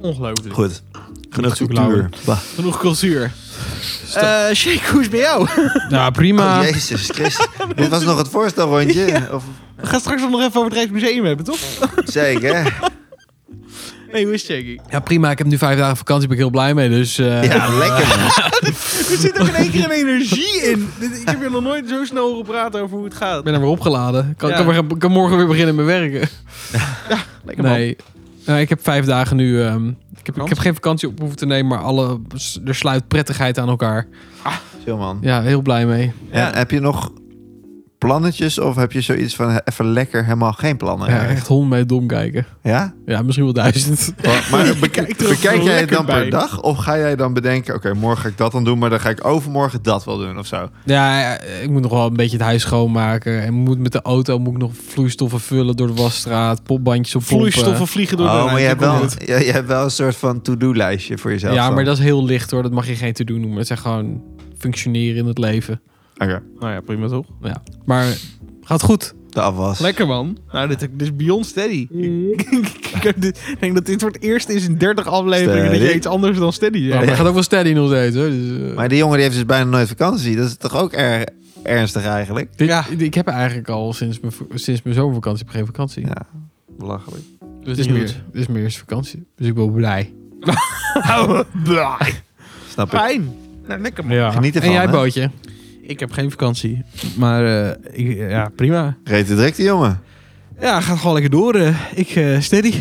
S1: Ongelooflijk.
S3: Goed. Genoeg
S2: cultuur.
S3: Bah.
S1: Genoeg cultuur. Eh Shake, hoe is het bij jou?
S2: Nou, prima.
S3: Oh, Jezus Christus. Dit was nog het voorstelrondje. Of,
S1: We gaan straks nog even over het Rijksmuseum hebben, toch?
S3: zeker.
S1: Nee, hoe is het, Shakey?
S2: Ja, prima. Ik heb nu vijf dagen vakantie. Ben ik heel blij mee. Dus eh,
S3: Ja, lekker. man.
S1: Er zit ook in één keer een energie in. Dit- Ik heb hier nog nooit zo snel horen praten over hoe het gaat.
S2: ik ben er weer opgeladen. Ik kan,
S1: Ja.
S2: kan, weer- kan morgen weer beginnen met
S1: [LAUGHS]
S2: werken.
S1: Lekker man.
S2: Nee. Nou, ik heb vijf dagen nu. ehm, ik, heb, ik heb
S1: Vakantie?
S2: geen vakantie op hoeven te nemen, maar alle, er sluit prettigheid aan elkaar.
S3: Chill man.
S2: Ja, heel blij mee.
S1: Ja.
S3: En heb je nog plannetjes? Of heb je zoiets van eh, even lekker helemaal geen plannen?
S1: Nou
S2: Ja, echt hond mee dom kijken.
S3: Ja?
S2: Ja, misschien wel duizend.
S3: Maar,
S1: [LAUGHS]
S3: maar
S1: kijkt er
S3: bekijk,
S1: ook
S3: bekijk
S1: wel
S3: jij het
S1: lekker
S3: dan per
S1: bij.
S3: dag? Of ga jij dan bedenken, oké, morgen ga ik dat dan doen, maar dan ga ik overmorgen dat wel doen of zo?
S2: Ja, ik moet nog wel een beetje het huis schoonmaken. En moet met de auto moet ik nog vloeistoffen vullen door de wasstraat. Popbandjes op
S1: Vloeistoffen vliegen door de
S3: oh, maar
S1: ruimte,
S3: je hebt,
S1: kom
S3: wel,
S1: goed.
S3: je, je hebt wel een soort van to-do-lijstje voor jezelf.
S2: Ja,
S3: dan.
S2: maar dat is heel licht hoor. Dat mag je geen te doen noemen. Het zijn gewoon functioneren in het leven.
S3: Oké,
S1: Nou ja, prima toch?
S2: Maar gaat goed.
S3: de afwas.
S1: Lekker man. Nou, dit, dit is beyond steady. ik heb dit- ik denk dat dit voor het eerst is in 30 afleveringen dat je
S3: Steady.
S1: iets anders dan steady
S2: Ja,
S1: zegt.
S2: maar
S3: ja.
S2: gaat ook wel steady nog steeds hoor. Dus, eh,
S3: Maar die jongen die heeft dus bijna nooit vakantie. Dat is toch ook erg ernstig eigenlijk?
S2: dit-
S1: ja.
S2: Ik heb eigenlijk al sinds mijn, v- sinds mijn zomervakantie heb ik geen vakantie.
S3: Ja, belachelijk.
S2: Dus het is,
S1: Niet
S2: meer,
S1: goed.
S2: het is meer eens vakantie. Dus ik ben blij.
S1: Oh. [LAUGHS]
S3: Snap ik.
S1: Fijn. Nou, lekker man.
S2: Ja.
S3: Geniet ervan,
S2: En jij
S3: hè?
S2: bootje?
S1: Ik heb geen vakantie. Maar eh, ik, ja, prima.
S3: Reed de direct, die jongen.
S1: Ja, gaat gewoon lekker door. eh. ik eh,
S2: [LAUGHS]
S1: steady.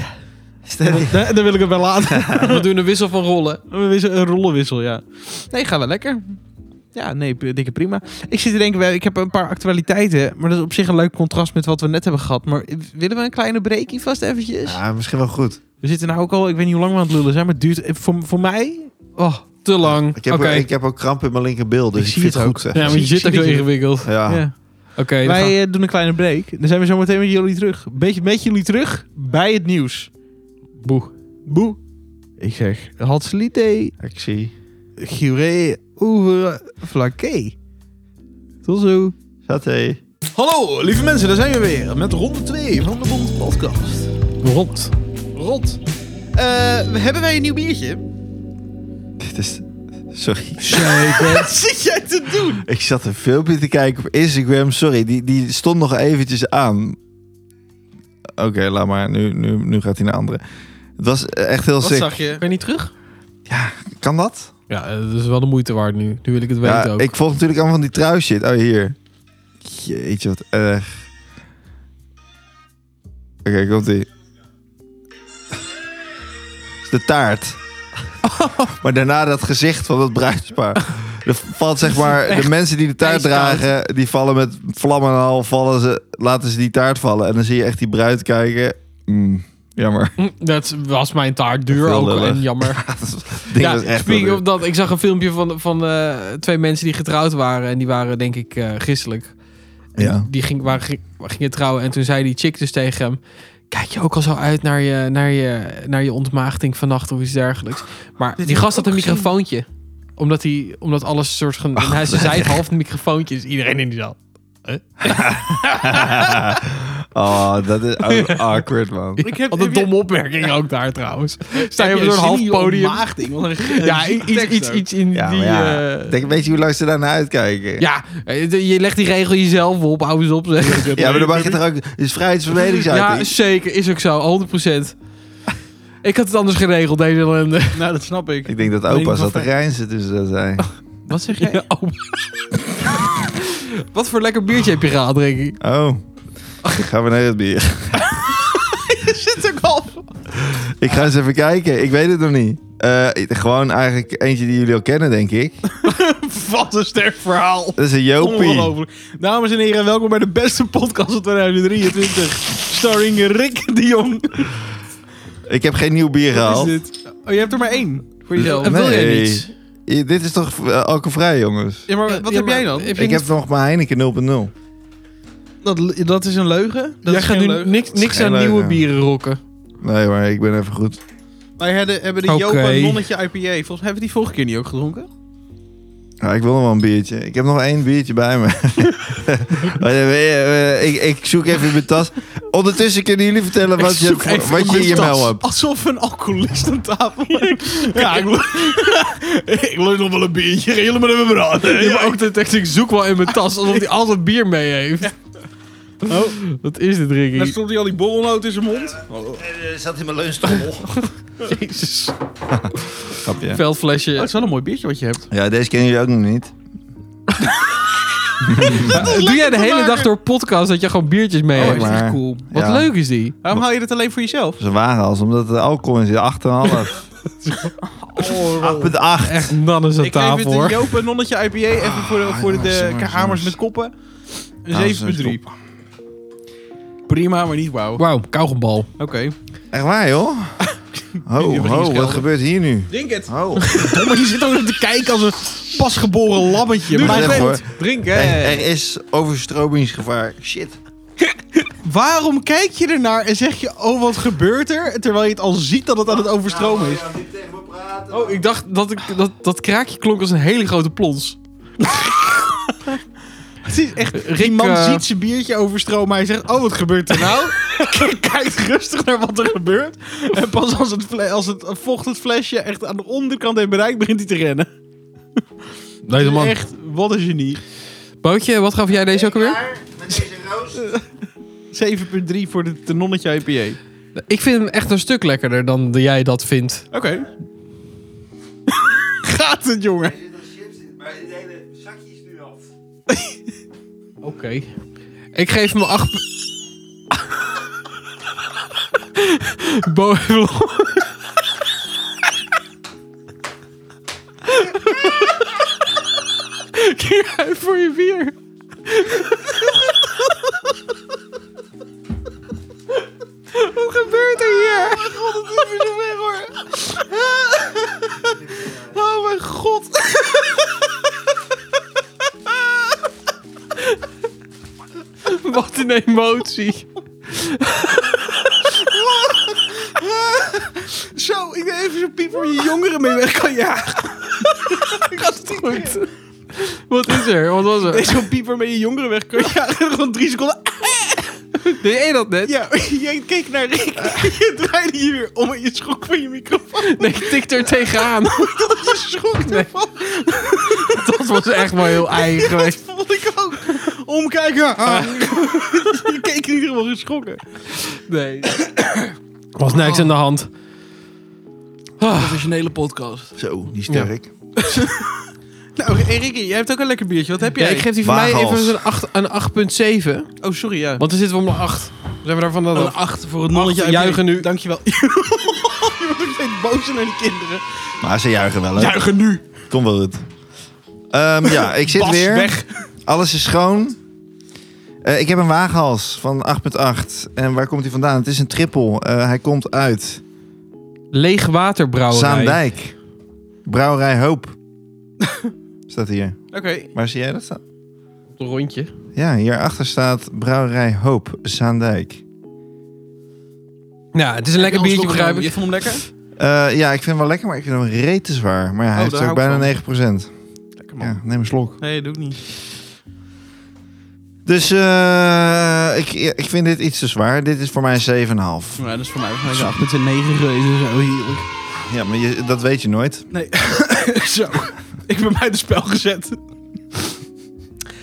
S3: Steady.
S1: Dan, dan wil ik het bij laten.
S2: We doen een wissel van rollen.
S1: Een wissel- een rollenwissel, ja. Nee, gaat wel lekker. Ja, nee, p- dikke prima. Ik zit te denken, wel, ik heb een paar actualiteiten. Maar dat is op zich een leuk contrast met wat we net hebben gehad. Maar eh, willen we een kleine breakie vast eventjes?
S3: Ja, misschien wel goed.
S1: We zitten nou ook al, ik weet niet hoe lang we aan het lullen zijn. Maar het duurt eh, voor, voor mij... Oh,
S2: Te lang.
S3: Ik
S2: Oké.
S3: heb, ik heb ook kramp in mijn linkerbil, dus
S1: Ik
S3: ik,
S1: zie
S3: vind
S1: het
S3: het
S1: ook.
S3: goed. Zeg.
S2: Ja, maar je zit ook zo ingewikkeld.
S3: Ja.
S1: ja.
S2: Oké, dan
S1: Wij
S2: gaan-
S1: eh, doen een kleine break. Dan zijn we zo meteen met jullie terug. Beetje met jullie terug bij het nieuws.
S2: boe.
S1: Boe. Ik zeg, Hatslite,
S3: ik zie.
S1: Gure, Oevre, Flaké. Tot zo.
S3: Saté.
S1: Hallo, lieve mensen, daar zijn we weer. Met ronde 2 van de Rond Podcast.
S2: Rond.
S1: Rond. hebben wij een nieuw [LAUGHS] biertje?
S3: [LAUGHS] Dit is... Sorry.
S1: Wat zit jij te doen?
S3: Ik zat een filmpje te kijken op Instagram. Sorry, die, die stond nog eventjes aan. Oké, laat maar. Nu, nu, nu gaat hij naar andere. Het was echt heel
S1: Wat
S3: sick.
S1: zag je?
S2: Ben je niet terug?
S3: Kan dat?
S2: Ja, eh, dat is wel de moeite waard nu. Nu wil ik het
S3: Ja,
S2: weten ook.
S3: ik volg natuurlijk allemaal van die trui shit. Oh, hier. Jeetje, wat erg. Oké, komt ie. [LAUGHS] De
S2: [LAUGHS]
S3: taart. Maar daarna dat gezicht van dat bruidspaar. Er valt zeg
S2: [LAUGHS]
S3: maar, de mensen die de taart
S2: ijskoud.
S3: dragen, die vallen met vlammen en al, vallen ze, laten ze die taart vallen. En dan zie je echt die bruid kijken. Mm, jammer.
S2: Hm, Dat was mijn taart duur
S3: Heel
S2: ook
S3: lullig.
S2: en jammer. [LAUGHS]
S3: Ik [LAUGHS] denk dat is echt wel
S2: speaking
S3: duur.
S2: of dat, ik zag een filmpje van, van eh, twee mensen die getrouwd waren. En die waren denk ik eh, christelijk. En
S3: Ja.
S2: Die ging, waren, ging- gingen trouwen en toen zei die chick dus tegen hem... Kijk je ook al zo uit naar je, naar je, naar je ontmaagding vannacht of iets dergelijks. Maar
S1: Dit
S2: die
S1: heb
S2: gast
S1: ik
S2: had een
S1: ook gezien.
S2: microfoontje. Omdat, hij, omdat alles soort van... en hij zei het half een microfoontje, dus iedereen in die zaal.
S3: oh, dat is
S2: [LAUGHS]
S3: ook awkward, man.
S1: Ik heb-
S2: Wat een
S1: heb je-
S2: domme opmerking ook daar trouwens. Sta je op
S1: Heb
S2: zo'n
S1: zin
S2: half
S1: in je
S2: podium.
S1: ontmaagding? Wat een
S2: Ja,
S1: ge-
S2: iets,
S1: tekst
S2: iets,
S1: ook.
S2: iets in
S3: Ja,
S2: die...
S3: maar ja.
S2: eh,
S3: Denk, weet je hoe lang ze daarna uitkijken?
S2: Ja, eh, je legt die regel jezelf op, hou eens op. Zeg.
S3: Ja, maar dan mag je toch ook... Het is
S2: Ja,
S3: vrijheidsverleningsuiting.
S2: zeker. Is ook zo, 100%. Ik had het anders geregeld, deze ellende.
S1: Nou, dat snap ik.
S3: ik denk dat
S1: Weet ik
S3: opa
S1: wel
S3: zat te
S1: fijn.
S3: reinzen tussen dat zijn.
S1: Wat zeg
S2: [LAUGHS]
S1: jij?
S2: Oh. Wat voor lekker biertje heb je gehaald, denk ik?
S3: Oh. Ik ga weer naar het bier.
S1: Zit ook al.
S3: Ik ga eens even kijken. Ik weet het nog niet. Eh, gewoon eigenlijk eentje die jullie al kennen, denk ik.
S1: Wat een sterk verhaal.
S3: Dat is een Jopie.
S1: Ongelooflijk. Dames en heren, welkom bij de beste podcast van 2023. Starring Rick de Jong.
S3: Ik heb geen nieuw bier
S1: Wat
S3: gehaald.
S1: is dit? [LAUGHS] Oh, je hebt er maar één. Voor jezelf.
S2: En wil jij
S3: Nee.
S2: niets?
S3: I- Dit is toch eh, alcoholvrij, jongens?
S1: Ja, maar
S2: Eh,
S1: wat
S2: ja,
S1: heb jij
S2: maar
S1: dan?
S2: heb je
S3: Ik
S2: niet-
S3: heb nog mijn Heineken 0.0.
S1: Dat, dat is een leugen. Dat
S2: Jij
S1: is
S2: gaat
S1: geen
S2: nu
S1: leugen.
S2: niks,
S3: Dat is
S2: niks
S3: geen
S2: aan
S3: leugen.
S2: nieuwe bieren rokken.
S3: Nee, maar ik ben even goed.
S1: Wij hebben, hebben de
S2: Oké.
S1: Jopa Nonnetje IPA. Volgens mij hebben we die vorige keer niet ook gedronken.
S3: Ja, ik wil nog wel een biertje. Ik heb nog één biertje bij
S2: [LAUGHS]
S3: me. Oh Maar, eh, eh, ik, ik zoek even in mijn tas. Ondertussen kunnen jullie vertellen wat je,
S2: zoek even
S3: wat je in je mail hebt.
S1: Alsof een alcoholist aan tafel Ja, ik wil [LAUGHS] ik wil nog wel een biertje. Gaan jullie maar even praten.
S2: Ja, maar ook de tekst, ik zoek wel in mijn tas, alsof hij altijd bier mee heeft.
S1: Oh,
S2: Wat is dit,
S1: daar
S2: Ricky?
S1: stond hij al die borrelnoot in zijn mond.
S3: zat in mijn leunstoel.
S2: Jezus.
S3: [LAUGHS] Grapje.
S1: Dat Oh, is
S2: Veldflesje.
S1: wel een mooi biertje wat je hebt.
S3: Ja, deze kennen jullie ook nog niet.
S2: Doe jij de
S1: te
S2: hele
S1: maken.
S2: dag door podcast dat je gewoon biertjes mee
S1: Oh,
S2: hebt?
S1: is
S3: maar-
S1: echt cool.
S2: Wat
S3: Ja.
S2: leuk is die.
S1: Waarom hou je dat alleen voor jezelf?
S3: Ze waren als omdat er alcohol in zit. 8,5.
S1: Oh,
S3: 8,8.
S2: Echt nannes aan
S1: ik geef het
S2: tafel
S1: een
S2: hoor.
S1: Ah, Joop en Nonnetje IPA even voor de, voor de,
S3: jongens,
S1: de
S3: jongens,
S1: hamers
S3: jongens.
S1: met koppen.
S3: Nou, ze zijn
S1: 7,3. Prima, maar niet wauw.
S2: Wauw, kauwgombal.
S1: Oké.
S3: Echt waar, joh? Ho,
S1: Die mag niet
S3: ho,
S1: schelden.
S3: wat gebeurt hier nu?
S1: Drink het.
S3: Ho.
S1: Oh, maar je zit ook te kijken als een pasgeboren lammetje.
S3: Doe
S1: Maar
S3: het even,
S1: goed, Drink, hè.
S3: Er, er is overstromingsgevaar. Shit.
S1: Waarom kijk je ernaar en zeg je, oh, wat gebeurt er? Terwijl je het al ziet dat het aan het overstromen is.
S3: Nou, eh,
S2: Oh, ik dacht dat ik, dat, dat kraakje klonk als een hele grote plons.
S1: Het is echt, die
S2: Rick,
S1: man
S2: eh,
S1: ziet zijn biertje overstromen. Hij zegt, oh, wat gebeurt [LAUGHS] er nou? Kijkt rustig naar wat er gebeurt. En pas als het, fle- als het vocht het flesje echt aan de onderkant heeft bereikt, begint hij te rennen.
S2: Deze man.
S1: Echt, wat een genie.
S2: Bootje, wat gaf jij deze ook alweer?
S1: 7,3 voor het tenonnetje IPA.
S2: Ik vind hem echt een stuk lekkerder dan de- jij dat vindt.
S1: Oké. [LAUGHS] Gaat het, jongen?
S2: Oké. Ik geef hem acht... [LAUGHS] Bo [LAUGHS] Kijk uit voor je bier. [LAUGHS] Wat gebeurt er hier?
S1: Oh mijn god.
S2: [LAUGHS] Wat een emotie.
S1: [LAUGHS] Zo, ik neem even zo'n piep voor je jongeren mee weg kan
S2: [LAUGHS]
S1: jagen. Gaat het goed?
S2: Wat is er? Wat was
S1: Nee,
S2: er?
S1: zo'n piep waarmee je jongeren weg kan jagen. [LAUGHS] Gewoon drie seconden.
S2: [LAUGHS] Deed jij dat net?
S1: Ja, [LAUGHS] je keek naar Rick. [LAUGHS] Je draaide je weer om en je schrok van je microfoon.
S2: Nee, ik tikte er
S1: [LAUGHS]
S2: tegenaan.
S1: Je schrok ervan.
S2: [LAUGHS] Dat was echt wel heel eigen
S1: Dat
S2: geweest.
S1: vond ik ook. Omkijken. Ah. Je keek in ieder geval geschrokken.
S2: Nee. was niks aan de hand.
S4: Professionele podcast.
S3: Zo, die sterk.
S1: Nou, Erik, jij hebt ook een lekker biertje. Wat heb
S2: Ja,
S1: jij?
S2: ik geef die van mij
S3: Waaghals.
S2: even een acht- een 8.7.
S1: Oh, sorry, ja. Oh,
S2: Want er zitten we om de 8. Zijn we daarvan dat
S4: Een
S2: af?
S4: 8 voor het nonnetje.
S2: Acht, juichen nu.
S1: Dankjewel. [LAUGHS] je wordt ook steeds bozer naar die kinderen.
S3: Maar ze juichen wel, hè?
S1: Juichen nu.
S3: Kom wel goed. Ehm, ja, ik zit
S1: Bas,
S3: weer.
S1: weg.
S3: Alles is schoon. Eh, ik heb een waaghals van 8,8. En waar komt hij vandaan? Het is een trippel. Eh, hij komt uit
S2: Leeg waterbrouwerij.
S3: Zaandijk. Brouwerij
S1: [LAUGHS]
S3: Hoop. staat hier.
S1: Oké.
S3: Waar zie jij dat staan?
S2: Een rondje.
S3: Ja, hierachter staat Brouwerij Hoop Zaandijk.
S2: Ja, het is een lekker biertje, begrijp
S1: Je
S2: ik.
S1: vond hem lekker?
S3: Eh, ja, ik vind hem wel lekker, maar ik vind hem reet te zwaar. Maar ja, hij
S1: Oh,
S3: heeft
S1: daar
S3: ook
S1: hou ik van.
S3: bijna 9%.
S1: Lekker
S3: Ja, neem een slok.
S1: Nee, doe ik niet.
S3: Dus eh, ik, ik vind dit iets te zwaar. Dit is voor mij een 7,5.
S1: Ja, dat is voor mij ook lekker. 8 met een 9 geweest. Zo heerlijk.
S3: Ja, maar je, dat weet je nooit.
S1: Nee. Zo. [LAUGHS] Ik ben bij de spel gezet.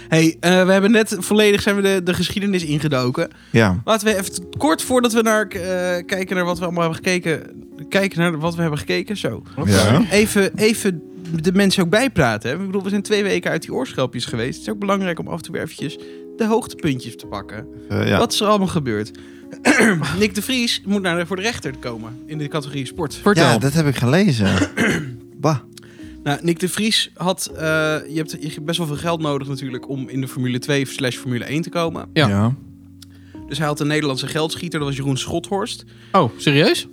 S1: hey, eh, we hebben net volledig zijn we de, de geschiedenis ingedoken.
S3: Ja.
S1: Laten we even t- kort voordat we naar, eh, kijken naar wat we allemaal hebben gekeken. Kijken naar wat we hebben gekeken. Zo.
S3: Ja.
S1: Even, even de mensen ook bijpraten. Hè? Ik bedoel, we zijn twee weken uit die oorschelpjes geweest. Het is ook belangrijk om af en toe weer eventjes de hoogtepuntjes te pakken.
S3: Eh, ja.
S1: Wat is er allemaal gebeurd? [CLEARS THROAT] Nick de Vries moet naar de, voor de rechter komen in de categorie sport.
S2: Vertel.
S3: ja, dat heb ik
S1: [COUGHS]
S3: gelezen. bah.
S1: Nou, Nick de Vries had... eh, je, hebt, je hebt best wel veel geld nodig natuurlijk om in de Formule 2 slash Formule 1 te komen.
S2: Ja.
S1: Dus hij had een Nederlandse geldschieter, dat was Jeroen Schothorst.
S2: Oh, serieus?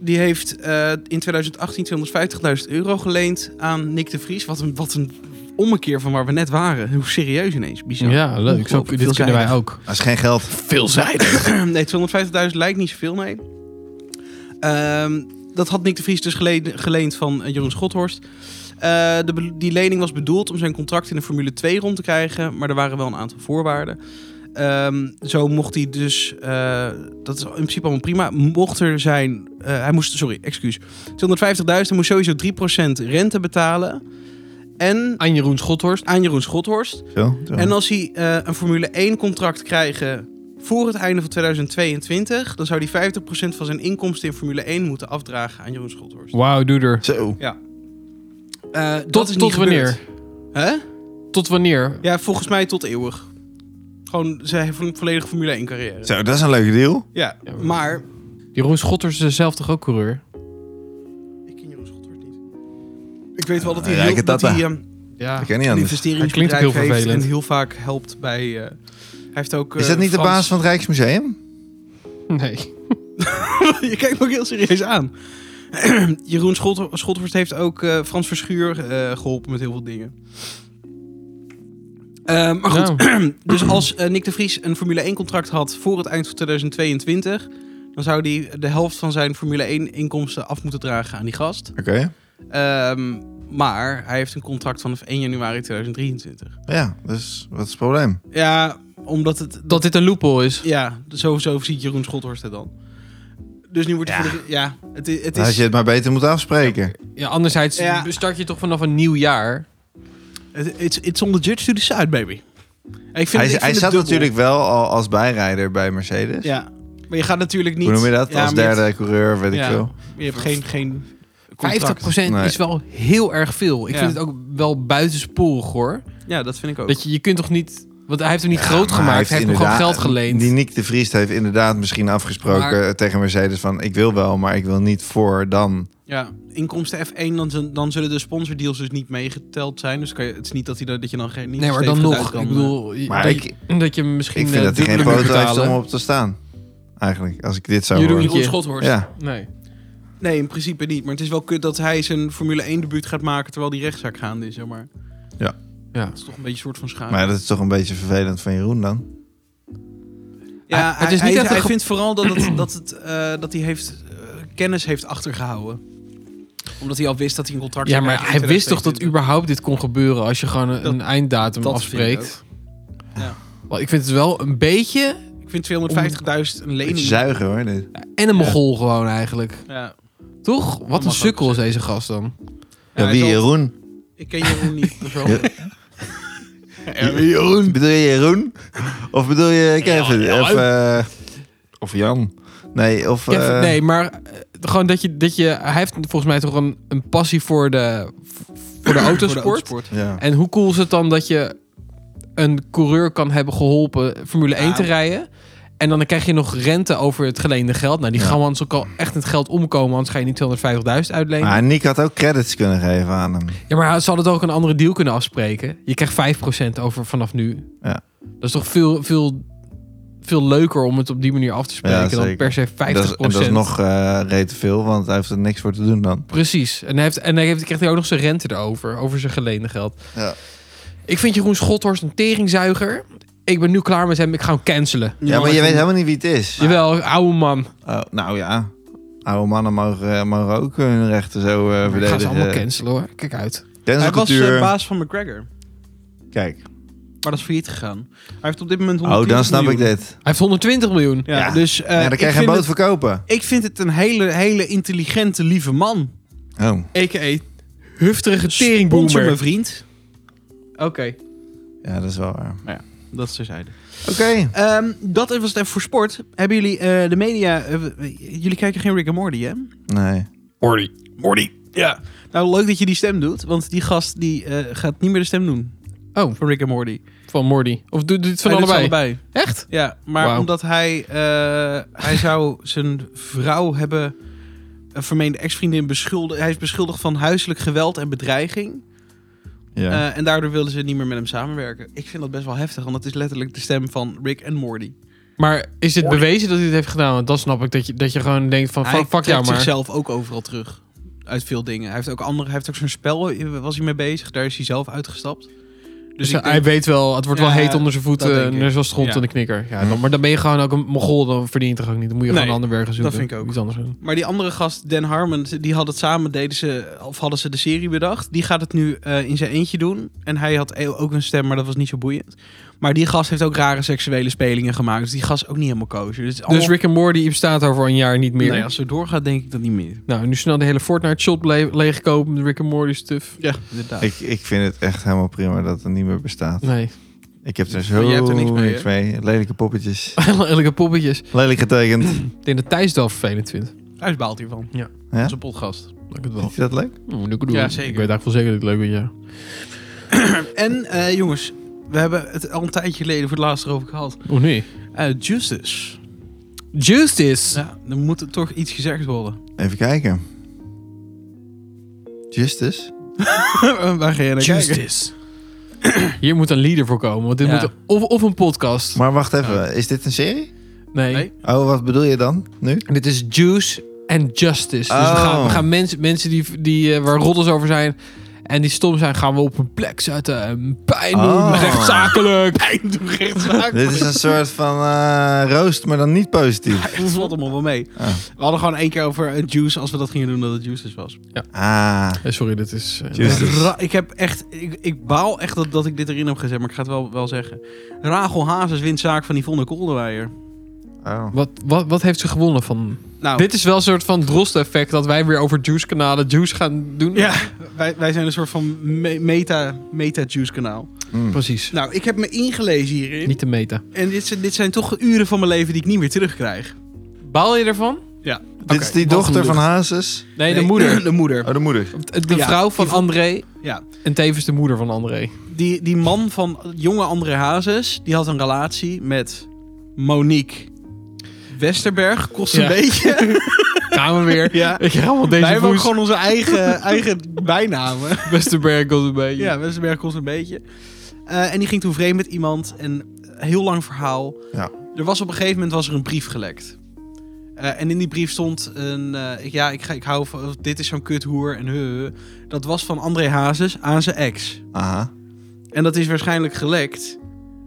S1: Die heeft eh, in 2018 250.000 euro geleend aan Nick de Vries. Wat een, wat een ommekeer van waar we net waren. Hoe serieus ineens, bizar.
S2: Ja, leuk. Zo,
S1: Ongelooflijk
S2: dit kunnen wij
S1: veelzijdig.
S2: ook.
S3: Dat is geen geld.
S2: Veelzijdig.
S1: [CLEARS THROAT] nee, 250.000 lijkt niet zoveel, nee. Ehm, dat had Nick de Vries dus gele- geleend van eh, Jeroen Schothorst. Eh, de be- die lening was bedoeld om zijn contract in de Formule 2 rond te krijgen, maar er waren wel een aantal voorwaarden. Ehm, zo mocht hij dus, eh, dat is in principe allemaal prima, mocht er zijn, eh, hij moest, sorry, excuus, 250.000, hij moest sowieso 3% rente betalen. En
S2: Aan Jeroen Schothorst.
S1: aan Jeroen Schothorst.
S3: Zo, zo.
S1: En als hij eh, een Formule 1 contract krijgen voor het einde van 2022, dan zou hij 50% van zijn inkomsten in Formule 1 moeten afdragen aan Jeroen Schothorst.
S2: Wauw, doe
S3: Zo.
S1: Eh, dat
S2: Tot,
S1: is
S2: tot
S1: niet gebeurd.
S2: wanneer?
S1: Hè?
S2: Tot wanneer?
S1: Ja, volgens mij tot eeuwig. Gewoon zijn vo- volledige Formule 1 carrière.
S3: Zo, dat is een leuke deal.
S1: Ja,
S2: Ja, maar-
S1: maar...
S2: Jeroen Schothorst is zelf toch ook coureur?
S1: Ik ken Jeroen Schothorst niet. Ik weet wel dat hij...
S3: Eh,
S1: heel-
S3: Rijke
S1: dat
S3: tata.
S1: hij ehm,
S4: Ja,
S3: Ik ken niet
S4: een
S3: anders.
S4: investeringsbedrijf
S2: Hij klinkt ook heel
S4: heeft
S2: vervelend.
S4: en heel vaak helpt bij... eh, hij heeft ook...
S3: Is
S4: eh,
S3: dat niet de
S4: Frans-
S3: baas van het Rijksmuseum?
S2: Nee.
S4: [LAUGHS] Je kijkt me ook heel serieus aan. [CLEARS THROAT] Jeroen Schot Schotvorst heeft ook eh, Frans Verschuur eh, geholpen met heel veel dingen. Eh, maar goed,
S2: Nou.
S4: [CLEARS THROAT] dus als eh, Nick de Vries een Formule 1-contract had voor het eind van 2022, dan zou hij de helft van zijn Formule 1-inkomsten af moeten dragen aan die gast.
S3: Oké.
S4: Ehm, maar hij heeft een contract vanaf 1 januari 2023.
S3: Ja, dus wat is het probleem?
S4: Ja, omdat het.
S2: Dat dit een loophole is.
S4: Ja, sowieso ziet Jeroen Schothorst het dan. Dus nu wordt hij
S3: Ja.
S4: voor de- Ja, het, i-
S3: Dan
S4: het
S3: Had
S4: is.
S3: Nou, je het maar beter moeten afspreken.
S2: Ja, anderzijds
S4: Ja.
S2: start je toch vanaf een nieuw jaar.
S4: Het, it's, it's on the judge to decide, baby. Ik vind,
S3: hij
S4: ik vind
S3: hij
S4: het
S3: zat
S4: dubbel.
S3: natuurlijk wel al als bijrijder bij Mercedes.
S4: Ja, maar je gaat natuurlijk niet.
S3: Hoe noem je dat?
S4: Ja,
S3: als
S4: maar je hebt-
S3: derde coureur, weet
S4: Ja.
S3: ik veel.
S4: Je, hebt geen. geen contract.
S2: 50%
S3: Nee.
S2: is wel heel erg veel. Ik
S4: Ja.
S2: vind het ook wel buitensporig hoor.
S4: Ja, dat vind ik ook.
S2: Dat je, je kunt toch niet... Want hij heeft hem niet
S3: Ja,
S2: groot
S3: maar
S2: gemaakt. Hij heeft, hem gewoon
S3: inderdaad-
S2: geld geleend.
S3: Die Nick de Vries heeft inderdaad misschien afgesproken
S2: Maar-
S3: tegen Mercedes van... ik wil wel, maar ik wil niet voor dan.
S4: Ja, inkomsten F1, dan, zul- dan zullen de sponsordeals dus niet meegeteld zijn. Dus kan je, het is niet dat, hij, dat dat je dan geen. niet
S2: nee, maar
S4: stevig
S2: dan nog.
S4: uit kan,
S2: ik bedoel...
S3: Maar
S2: dat,
S3: ik-
S2: je, dat je hem misschien
S3: Ik vind
S2: eh,
S3: dat hij geen
S2: dubbele moet
S3: foto heeft om
S2: betalen.
S3: op te staan. Eigenlijk, als ik dit zou
S2: Jeroen,
S3: horen.
S2: Jeroen
S5: Jeroen
S2: Schothorst.
S3: Ja,
S2: Nee.
S4: eh, Nee, in principe niet. Maar het is wel kut dat hij zijn Formule 1 debuut gaat maken terwijl die rechtszaak gaande is, zeg maar.
S3: Ja.
S2: Ja.
S4: Dat is toch een beetje een soort van schade.
S3: maar dat is toch een beetje vervelend van Jeroen dan?
S4: Ja,
S2: Hij-
S4: hij,
S2: het is niet
S4: hij-
S2: echt een
S4: hij
S2: ge-
S4: vindt vooral dat,
S2: [CLEARS THROAT]
S4: het, dat, het, eh, dat hij heeft, eh, kennis heeft achtergehouden. Omdat hij al wist dat hij een contract
S2: Ja,
S4: zou
S2: maar
S4: krijgen
S2: hij
S4: in
S2: wist toch dat
S4: 2022.
S2: überhaupt dit kon gebeuren als je gewoon een,
S4: Dat-
S2: een einddatum
S4: dat
S2: afspreekt.
S4: ik ook. Ja.
S2: Wel, Ik vind het wel een beetje
S4: Ik vind 250.000 een lening.
S3: Beetje zuigen hoor. dit.
S2: en een
S4: Ja.
S2: mogol gewoon eigenlijk.
S4: Ja.
S2: Toch? Wat een
S4: mag
S2: sukkel
S4: ook
S2: is deze gast dan.
S3: Ja,
S4: hij
S3: wie
S4: zal-
S3: Jeroen?
S4: Ik ken Jeroen
S2: [LAUGHS]
S4: niet. persoonlijk.
S3: Jeroen? Bedoel je Jeroen? Of bedoel je Kevin?
S2: Ja, ja.
S3: Of, eh, of Jan? Nee, of...
S2: Kevin,
S3: eh,
S2: nee, maar eh, gewoon dat je, dat je... Hij heeft volgens mij toch een, een passie voor de,
S3: [COUGHS]
S2: voor de
S4: Voor
S2: autosport.
S4: de autosport.
S3: Ja.
S2: En hoe cool is het dan dat je een coureur kan hebben geholpen Formule 1
S4: Ja.
S2: te rijden? En dan krijg je nog rente over het geleende geld. Nou, die
S3: Ja.
S2: gaan we anders ook al echt in het geld omkomen. Anders ga je niet 250.000 uitlenen.
S3: Maar Nick had ook credits kunnen geven aan hem.
S2: Ja, maar ze hadden toch ook een andere deal kunnen afspreken. Je krijgt 5% over vanaf nu.
S3: Ja.
S2: Dat is toch veel, veel, veel leuker om het op die manier af te spreken
S3: Ja,
S2: dan
S3: zeker.
S2: per se 50%.
S3: En dat is, en dat is nog eh reet te veel, want hij heeft er niks voor te doen dan.
S2: Precies. En hij, heeft, en hij heeft, krijgt hij ook nog zijn rente erover, over zijn geleende geld.
S3: Ja.
S2: Ik vind Jeroen Schothorst een teringzuiger. Ik ben nu klaar met hem. Ik ga hem cancelen.
S3: Ja, maar je weet helemaal niet wie het is.
S2: Jawel, oude man.
S3: Oh, nou ja, oude mannen mogen, eh, mogen ook hun rechten zo
S2: Ik
S3: eh
S2: ga ze allemaal
S3: verdedigen.
S2: cancelen hoor. Kijk uit.
S4: Hij was
S3: Cancelcultuur.
S4: eh, baas van McGregor.
S3: Kijk,
S4: Maar dat is failliet gegaan. Hij heeft op dit moment
S3: oh,
S4: 120
S3: dan snap ik
S4: miljoen.
S3: dit.
S2: Hij heeft 120 miljoen.
S4: Ja,
S3: Ja.
S4: dus eh,
S3: ja, dan kan
S4: ik,
S3: je geen
S4: vind
S3: boot
S4: het,
S3: verkopen.
S4: ik vind het een hele, hele intelligente, lieve man.
S3: Oh,
S2: A.k.a. hufterige
S4: Sponsor
S2: teringboomer.
S4: mijn
S2: Oké.
S4: vriend.
S3: ja, dat is wel waar.
S4: Dat is terzijde.
S3: Oké.
S4: Ehm, dat was het even voor sport. Hebben jullie eh, de media... eh, w- w- jullie kijken geen Rick and Morty, hè?
S3: Nee.
S2: Hordy.
S4: Morty. Ja. Nou, leuk dat je die stem doet. Want die gast die eh, gaat niet meer de stem doen.
S2: Oh.
S4: Van Rick and Morty.
S2: Van Mordy. Of doet doet het van
S4: Hij doet ze
S2: allebei?
S4: allebei.
S2: Echt?
S4: Ja, maar
S2: Wauw.
S4: omdat hij... eh, hij zou zijn vrouw hebben... Een vermeende ex-vriendin beschuldigd. Hij is beschuldigd van huiselijk geweld en bedreiging.
S3: Ja.
S4: Eh, en daardoor wilden ze niet meer met hem samenwerken. Ik vind dat best wel heftig, want dat is letterlijk de stem van Rick en Morty.
S2: Maar is dit bewezen dat hij het heeft gedaan? Want dan snap ik dat je, dat je gewoon denkt van
S4: hij
S2: Oh, fuck, fuck
S4: trekt
S2: jou maar.
S4: zichzelf ook overal terug. Uit veel dingen. Hij heeft ook andere, hij heeft ook zo'n spel, eh, was hij mee bezig. Daar is hij zelf uitgestapt.
S2: Dus
S4: Dus ik
S2: hij
S4: denk,
S2: weet wel, het wordt
S4: Ja,
S2: wel heet onder zijn
S4: dat
S2: voeten.
S4: denk
S2: En
S4: ik.
S2: er is wel stront
S4: Ja. Mhm.
S2: in de knikker. Ja, dan, maar dan ben je gewoon ook een mogol. Dan verdien je het toch ook niet. Dan moet je
S4: Nee,
S2: gewoon een ander werk gaan
S4: dat
S2: zoeken.
S4: vind ik ook.
S2: Iets anders doen.
S4: maar die andere gast, Dan Harmon, die had het samen, deden ze, of hadden ze de serie bedacht. Die gaat het nu eh, in zijn eentje doen. En hij had e- ook een stem, maar dat was niet zo boeiend. Maar die gast heeft ook rare seksuele spelingen gemaakt. Dus die gast is ook niet helemaal koosje. Dus,
S2: Dus Rick en Morty bestaat over een jaar niet meer.
S4: Nee, als het doorgaat, denk ik dat niet meer.
S2: Nou, nu snel de hele Fortnite shop le leegkopen. De Rick en Morty stuff.
S4: Ja, inderdaad.
S3: Ik, ik vind het echt helemaal prima dat het niet meer bestaat.
S2: Nee, [LAUGHS]
S3: Ik heb er
S4: Maar
S3: zo
S4: jij hebt er niks mee, hè?
S3: Lelijke poppetjes.
S2: lelijke poppetjes.
S3: Lelijk getekend.
S2: Ik denk dat Thijs het wel vervelend vindt.
S4: Hij baalt hiervan.
S2: Ja.
S3: Ja?
S4: Onze podcast.
S2: Dank het wel.
S3: Vind je dat leuk?
S2: Oh, doe ik het
S4: Ja,
S2: wel.
S4: zeker.
S2: Ik weet eigenlijk wel zeker dat ik het leuk vind, ja.
S4: En eh, jongens, we hebben het al een tijdje geleden voor het laatst erover gehad.
S2: Oh nee.
S4: Eh, justice.
S2: Justice.
S4: Ja, er [LAUGHS] moet toch iets gezegd worden.
S3: Even kijken. Justice?
S4: Waar ga je Eh, naar kijken?
S2: [CLEARS THROAT] Hier moet een leader voor komen. Want dit
S4: Ja.
S2: moet of, of een podcast.
S3: Maar wacht even, is dit een serie?
S2: nee.
S4: Nee.
S3: Oh, wat bedoel je dan nu?
S2: Dit is Juice and Justice. Dus
S3: Oh.
S2: we gaan, we gaan mensen, mensen die, die, eh, waar roddels over zijn en die stom zijn, gaan we op een plek zetten. En pijn doen,
S3: Oh.
S2: rechtszakelijk.
S4: Pijn doen rechtszaak.
S3: Dit is een soort van eh, roost, maar dan niet positief.
S4: [LAUGHS] Het valt allemaal wel mee.
S3: Ah.
S4: We hadden gewoon één keer over eh, juice, als we dat gingen doen, dat het juices was.
S3: Ah,
S2: Eh, sorry, dit is... eh,
S3: Juice. Juices.
S4: Ra- ik heb echt, ik, ik baal echt dat, dat ik dit erin heb gezet, maar ik ga het wel, wel zeggen. Rachel Hazes wint zaak van Yvonne Kolderweijer.
S3: oh.
S2: wat, wat, wat heeft ze gewonnen van?
S4: Nou,
S2: Dit is wel een soort van drost-effect dat wij weer over Juice-kanalen Juice gaan doen.
S4: ja, wij, wij zijn een soort van me- meta, meta juice kanaal.
S3: Mm.
S2: Precies.
S4: Nou, ik heb me ingelezen hierin.
S2: Niet de meta.
S4: En dit zijn, dit zijn toch uren van mijn leven die ik niet meer terugkrijg.
S2: Baal je ervan?
S3: Dit is die
S2: wat
S3: dochter van
S2: gelukkig.
S3: Hazes.
S2: Nee, de moeder.
S4: [CLEARS THROAT] De moeder.
S3: Oh, de moeder.
S2: De
S4: Ja,
S2: vrouw van
S4: die van-
S2: André
S4: Ja.
S2: en tevens de moeder van André.
S4: Die, die man van jonge André Hazes, die had een relatie met Monique Westerberg. Kost een
S2: Ja.
S4: beetje.
S2: Gaan we weer.
S4: [LAUGHS] ja.
S2: Ik ga allemaal deze
S4: Wij hebben ook
S2: voes.
S4: gewoon onze eigen, eigen bijnamen.
S2: Westerberg als een beetje.
S4: Ja, Westerberg kost een beetje. Eh, en die ging toen vreemd met iemand. En heel lang verhaal.
S3: Ja.
S4: Er was op een gegeven moment was er een brief gelekt. Eh, en in die brief stond een... eh, ik- ja, ik, ga, ik hou van... Dit is zo'n kuthoer en huh, huh. Dat was van André Hazes aan zijn ex.
S3: Aha.
S4: En dat is waarschijnlijk gelekt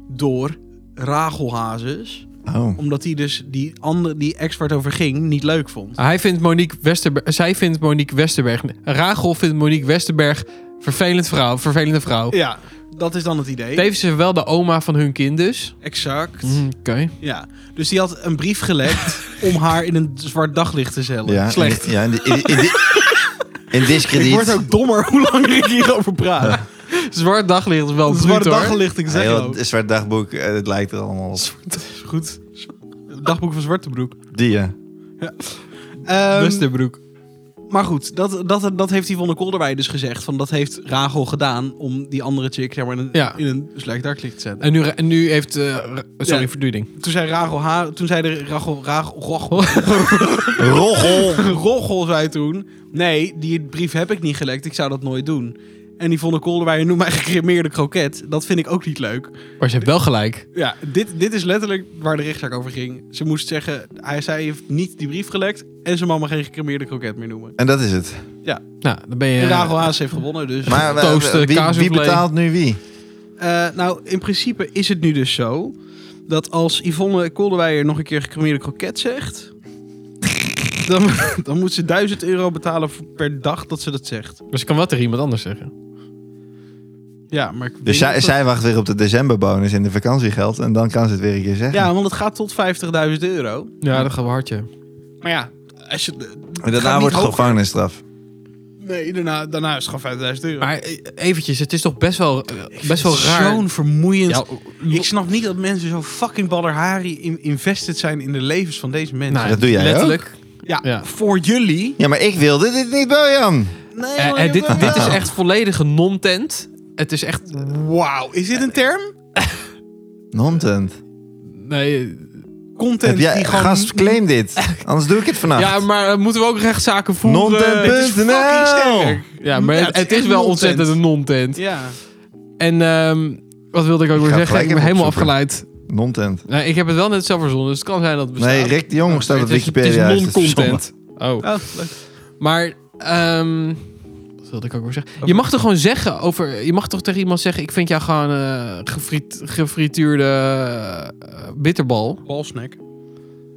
S4: door Rachel Hazes.
S3: Oh.
S4: Omdat hij dus die, andere, die ex waar het over ging niet leuk vond.
S2: Hij vindt Monique Westerberg. Zij vindt Monique Westerberg. Rachel vindt Monique Westerberg vervelend vrouw, vervelende vrouw.
S4: Ja. Dat is dan het idee.
S2: Tevens is wel de oma van hun kind dus.
S4: exact.
S2: Oké.
S4: Ja, dus die had een brief gelekt om haar in een zwart daglicht te zetten.
S3: Ja,
S4: Slecht.
S3: In, ja, in, in, in, in
S4: Ik
S3: discrediet.
S4: word ook dommer hoe langer ik hierover praat.
S2: Zwart daglicht is wel
S4: Een
S2: bruut
S4: zwart
S2: hoor.
S4: daglicht, ik
S3: Ja,
S4: zeg
S3: joh,
S4: het
S3: het is zwart dagboek, eh, het lijkt er allemaal op.
S4: Is goed. Dagboek van Zwartebroek.
S3: Die, eh, ja.
S4: Ehm,
S2: Westerbroek.
S4: maar goed, dat, dat, dat heeft Yvonne Kolderwij dus gezegd. Van dat heeft Rachel gedaan om die andere chick zeg maar, in, een,
S2: Ja.
S4: in een slecht daglicht te zetten.
S2: En nu, en nu heeft. eh, ra- sorry,
S4: Ja.
S2: verduiding.
S4: Toen zei Rachel haar, toen zei de Rachel, Rachel, Rachel, [LAUGHS]
S3: Roggel!
S4: Roggel zei toen... Nee, die brief heb ik niet gelekt. Ik zou dat nooit doen. En Yvonne Kolderwij noemt mij [LAUGHS] gecremeerde kroket. Dat vind ik ook niet leuk.
S2: Maar ze heeft wel gelijk.
S4: Ja, dit, dit is letterlijk waar de rechtszaak over ging. Ze moest zeggen, hij, zij heeft niet die brief gelekt... en ze mag me geen gecremeerde kroket meer noemen.
S3: En dat is het.
S2: Nou, dan ben je.
S4: En Rachel Haas heeft gewonnen, dus...
S3: Maar eh,
S2: Toast, eh,
S3: wie,
S2: kaas
S3: wie
S2: soufflé.
S3: betaalt nu wie?
S4: Eh, nou, in principe is het nu dus zo... dat als Yvonne Kolderweijer nog een keer gecremeerde kroket zegt... dan, [LAUGHS] dan moet ze 1000 euro betalen voor- per dag dat ze dat zegt.
S2: Maar ze kan wel tegen iemand anders zeggen.
S4: Ja, maar... ik
S3: Dus
S4: weet niet
S3: zij,
S4: of dat-
S3: zij wacht weer op de decemberbonus en de vakantiegeld. En dan kan ze het weer een keer zeggen.
S4: Ja, want het gaat tot 50.000 euro.
S2: Ja, dat gaat wel hard, ja.
S4: Maar ja, als je...
S3: en
S4: het gaat
S3: daarna
S4: niet
S3: wordt het
S4: hoger.
S3: gevangenisstraf.
S4: Nee, daarna, daarna is het gewoon 50.000 euro.
S2: Maar eh, eventjes, het is toch best wel, eh, best wel raar.
S4: Zo'n vermoeiend...
S2: Ja,
S4: Ik snap niet dat mensen zo fucking ballerhari in- invested zijn in de levens van deze mensen.
S2: nou,
S3: dat doe jij
S2: Letterlijk.
S4: ja,
S2: ja.
S4: voor jullie.
S3: Ja, maar ik wilde dit niet, Bojan.
S4: Nee,
S2: Eh, eh, dit, dit is echt volledige non-tent. Het is echt...
S4: Wauw, is dit een term?
S3: Nontent.
S2: Nee.
S4: Content
S3: Heb jij,
S4: die gewoon...
S3: gast, claim dit. Anders doe ik het vannacht.
S2: Ja, maar eh, moeten we ook rechtszaken voeren?
S3: Nontent.nl.
S2: Dit is fucking sterk. Ja, maar
S4: Ja,
S2: het,
S4: het is
S2: het is
S4: echt
S2: wel
S4: non-tent.
S2: ontzettend een non-tent.
S4: Ja.
S2: En ehm, wat wilde ik ook
S3: Ik
S2: weer
S3: ga
S2: zeggen? Ik
S3: gelijk
S2: ben
S3: even
S2: helemaal
S3: opzoeken.
S2: afgeleid.
S3: Nontent.
S2: Nou, ik heb het wel net zelf verzonnen, dus het kan zijn dat het bestaat.
S3: Nee, Rick de Jong staat op
S2: Het is-
S3: Wikipedia.
S2: Het
S3: hij
S2: is
S3: heeft het verzonnen.
S2: non-content. Oh.
S4: Oh, leuk.
S2: Maar, ehm, wat wilde ik ook weer zeggen? Je mag toch gewoon zeggen over... Je mag toch tegen iemand zeggen... Ik vind jou gewoon eh gefriet, gefrituurde eh, bitterbal.
S4: Balsnack.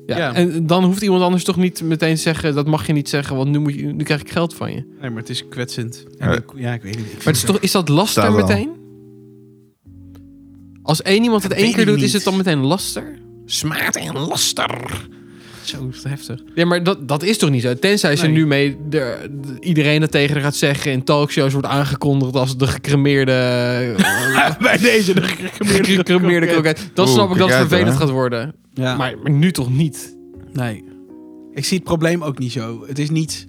S2: Ja.
S4: Ja.
S2: En dan hoeft iemand anders toch niet meteen te zeggen... Dat mag je niet zeggen, want nu, moet je, nu krijg ik geld van je.
S4: Nee, maar het is kwetsend.
S3: Ja.
S4: En ik- Ja, ik weet niet. Ik
S2: Maar het is, toch, is dat laster
S3: Staat wel.
S2: meteen? Als één iemand het
S4: Dat
S2: één
S4: weet
S2: keer
S4: ik
S2: doet,
S4: niet.
S2: is het dan meteen laster? Smaad en laster.
S4: zo heftig.
S2: Ja, maar dat, dat is toch niet zo? Tenzij ze
S4: Nee.
S2: nu mee de, de- iedereen dat tegen haar gaat zeggen... in talkshows wordt aangekondigd als de
S4: [LAUGHS]
S2: gecremeerde... eh,
S4: [LAUGHS] Bij deze de gecremeerde
S2: gecremeerde kroket. Dan
S3: Oeh,
S2: snap ik dat het
S3: kijk uit,
S2: vervelend
S3: hoor.
S2: gaat worden.
S4: Ja,
S2: Maar, maar nu toch niet?
S4: nee. Ik zie het probleem ook niet zo. Het is niet...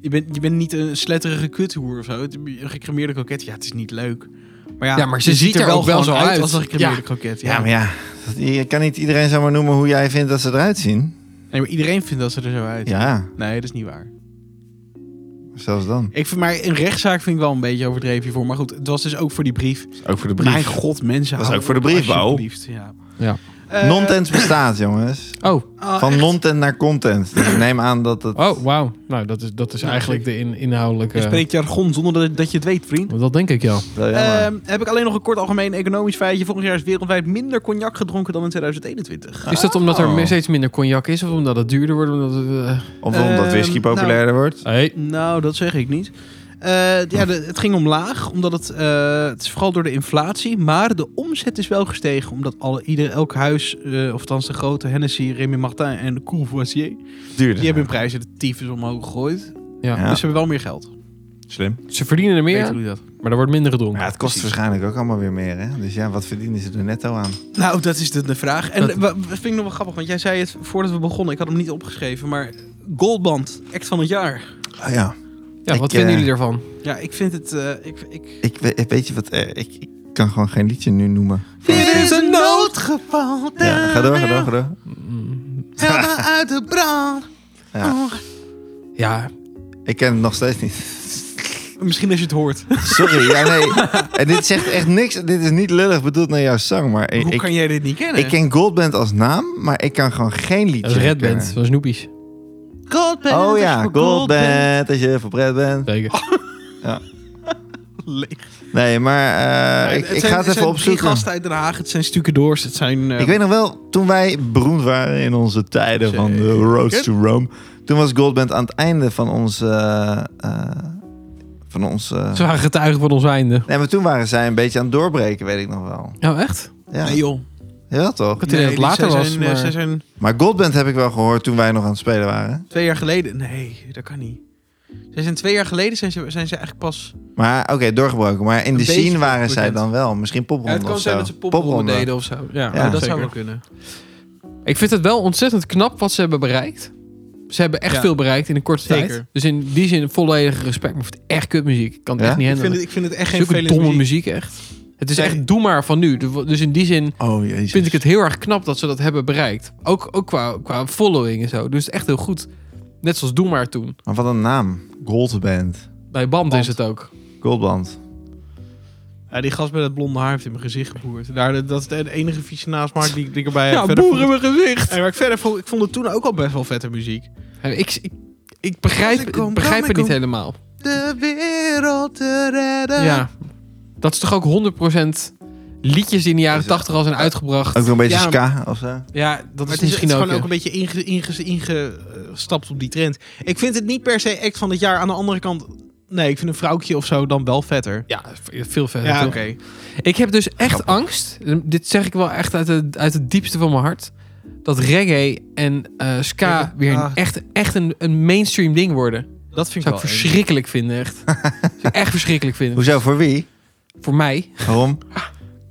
S4: Je bent, je bent niet een sletterige kuthoer of zo. Het- Een gecremeerde kroket, ja, het is niet leuk. Maar ja,
S2: Ja, maar ze
S4: je
S2: ziet er ook wel
S4: gewoon
S2: zo uit.
S4: als een gecremeerde
S2: Ja.
S4: kroket.
S3: Ja, maar ja. Je kan niet iedereen zomaar noemen hoe jij vindt dat ze eruit zien.
S4: Nee, maar iedereen vindt dat ze er zo uit.
S3: Ja.
S4: Nee, dat is niet waar.
S3: Zelfs dan.
S4: Ik vind, maar een rechtszaak vind ik wel een beetje overdreven hiervoor. Maar goed, het was dus ook voor die brief.
S3: Ook voor de brief.
S4: Mijn god, mensen.
S3: Dat is
S4: hou
S3: ook voor de
S4: op,
S3: briefbouw.
S4: alsjeblieft, Ja.
S2: Ja.
S4: Eh,
S3: Non-tent bestaat, jongens.
S2: Oh,
S4: oh,
S3: Van
S4: echt?
S3: non-tent naar content. Dus ik neem aan dat het...
S2: oh wauw. Nou, dat is, dat is
S4: Ja,
S2: eigenlijk de in, inhoudelijke...
S4: Je spreekt jargon zonder dat, dat je het weet, vriend.
S2: Dat denk ik, ja.
S3: Wel jammer.
S4: Ehm, heb ik alleen nog een kort algemeen economisch feitje. Volgend jaar is wereldwijd minder cognac gedronken dan in 2021.
S2: Is dat omdat er
S3: Oh.
S2: meer- steeds minder cognac is? Of omdat het duurder wordt? Omdat het, eh,
S3: of omdat
S4: ehm,
S3: whisky populairder wordt.
S2: hey.
S4: Nou, dat zeg ik niet. Eh, ja, de- het ging omlaag, omdat het, eh, het is vooral door de inflatie. Maar de omzet is wel gestegen, omdat alle, ieder, elk huis, eh of althans de grote Hennessy, Remy Martin en Courvoisier,
S3: Duurder.
S4: die hebben hun prijzen de tyfus omhoog gegooid.
S2: Ja.
S3: Ja.
S4: Dus ze hebben wel meer geld.
S3: Slim.
S2: Ze verdienen er meer,
S4: Weten
S2: aan,
S4: jullie dat?
S2: maar er wordt minder gedronken.
S3: Maar ja, het kost waarschijnlijk ook allemaal weer meer, hè? Dus ja, wat verdienen ze er netto aan?
S4: Nou, dat is de, de vraag. En
S2: Dat-
S4: dat vind ik nog wel grappig, want jij zei het voordat we begonnen. Ik had hem niet opgeschreven, maar Goldband, act van het jaar.
S3: Ah ja.
S2: ja, wat
S3: Ik,
S2: vinden
S3: eh,
S2: jullie daarvan?
S4: Ja, ik vind het... eh, ik, ik...
S3: Ik we- weet je wat... eh, ik, ik kan gewoon geen liedje nu noemen.
S4: Dit is een noodgeval.
S3: Ja, ga door, ga door, ga door.
S4: Help [LAUGHS] me uit de brand.
S3: Ja.
S4: Oh.
S2: Ja,
S3: Ik ken het nog steeds niet.
S4: Misschien als je het hoort.
S3: Sorry, ja
S4: [LAUGHS]
S3: nee. En dit zegt echt niks. Dit is niet lullig bedoeld naar jouw zang, maar ik,
S4: Hoe
S3: ik,
S4: kan jij dit niet kennen?
S3: ik ken Goldband als naam, maar ik kan gewoon geen liedje.
S2: dat is Red
S3: kennen.
S4: eh,
S2: Band. Dat is
S4: [LAUGHS]
S2: Noepies.
S4: Goldband.
S3: Oh
S4: als
S3: ja,
S4: je voor
S3: Goldband, als je verbred bent.
S2: Zeker.
S4: Ah. Leeg.
S3: Nee, maar eh, ik,
S4: Het
S3: ik
S4: zijn-
S3: ga het even
S4: zijn drie
S3: opzoeken.
S4: gasten uit Den Haag. Het zijn stukendoors. Het zijn... eh,
S3: Ik weet nog wel, toen wij beroemd waren in onze tijden van de Roads to Rome, toen was Goldband aan het einde van ons. eh, eh, van ons eh,
S2: Ze waren getuigen van ons einde.
S3: Nee, maar toen waren zij een beetje aan het doorbreken, weet ik nog wel.
S2: Oh, echt?
S3: Ja,
S4: Nee, joh.
S3: ja toch?
S2: het idee dat het later
S4: zij
S2: was,
S4: Zijn, eh,
S2: maar-
S4: Zij zijn
S3: Maar Goldband heb ik wel gehoord toen wij nog aan het spelen waren.
S4: twee jaar geleden... Nee, dat kan niet. Zij zijn twee jaar geleden zijn ze, zijn ze eigenlijk pas...
S3: Maar oké, doorgebroken. Maar in
S4: Een
S3: de
S4: beetje
S3: scene waren zij
S4: bekend.
S3: dan wel. Misschien popronde
S4: Ja, het kan
S3: of
S4: zijn
S3: zo.
S4: dat ze popronde deden of zo.
S2: Ja,
S4: Ja, dat
S2: zeker.
S4: zou wel kunnen.
S2: Ik vind het wel ontzettend knap wat ze hebben bereikt. Ze hebben echt
S4: Ja.
S2: veel bereikt in een korte
S4: Zeker.
S2: tijd. Dus in die zin volledig respect. Maar ik vind het echt kutmuziek. Ik kan het
S3: Ja?
S2: echt niet
S4: Ik vind,
S2: handelen.
S4: het, ik vind het echt
S2: Het
S4: geen
S2: is ook een
S4: vervelende
S2: domme
S4: muziek.
S2: muziek. echt. Het is
S4: Nee.
S2: echt doe maar van nu. Dus in die zin
S3: Oh jezus.
S2: vind ik het heel erg knap dat ze dat hebben bereikt. Ook, ook qua, qua following en zo. Dus echt heel goed. Net zoals doe maar toen.
S3: Maar wat een naam. Goldband.
S2: Bij Band,
S4: Band.
S2: is het ook.
S3: Goldband.
S4: Ja, die gast met het blonde haar heeft in mijn gezicht geboerd. Daar, dat is de enige vieze nasmaak die, die ik erbij heb.
S2: [LAUGHS] Ja,
S4: Verder
S2: boer in
S4: vond-
S2: mijn gezicht.
S4: Nee, maar ik, verder vond, ik vond het toen ook al best wel vette muziek.
S2: Ik, ik, ik begrijp, ik begrijp het niet helemaal.
S4: de wereld te redden.
S2: Ja. Dat is toch ook 100% liedjes die in de jaren
S3: Is het-
S2: 80 al zijn uitgebracht.
S3: Ook nog een beetje
S4: Ja,
S3: ska of zo.
S2: Ja, dat
S4: Maar
S2: is
S4: het is, het
S2: misschien
S4: is
S2: ook.
S4: gewoon ook eh?
S2: ja.
S4: een beetje ingestapt inge, inge, ingestapt op die trend. Ik vind het niet per se act van het jaar. Aan de andere kant, nee, ik vind een vrouwtje of zo dan wel vetter.
S2: Ja, veel verder.
S4: Ja,
S2: toch?
S4: oké.
S2: Ik heb dus echt angst. Dit zeg ik wel echt uit, de, uit het diepste van mijn hart. Dat reggae en eh, ska weer een,
S4: ah.
S2: echt, echt een, een mainstream ding worden.
S4: Dat vind
S2: Zou
S4: ik
S2: ik
S4: wel eng.
S2: verschrikkelijk vinden,
S3: [LAUGHS]
S2: echt. Zou ik echt verschrikkelijk vinden.
S3: Hoezo, voor wie?
S2: Voor mij.
S3: Waarom?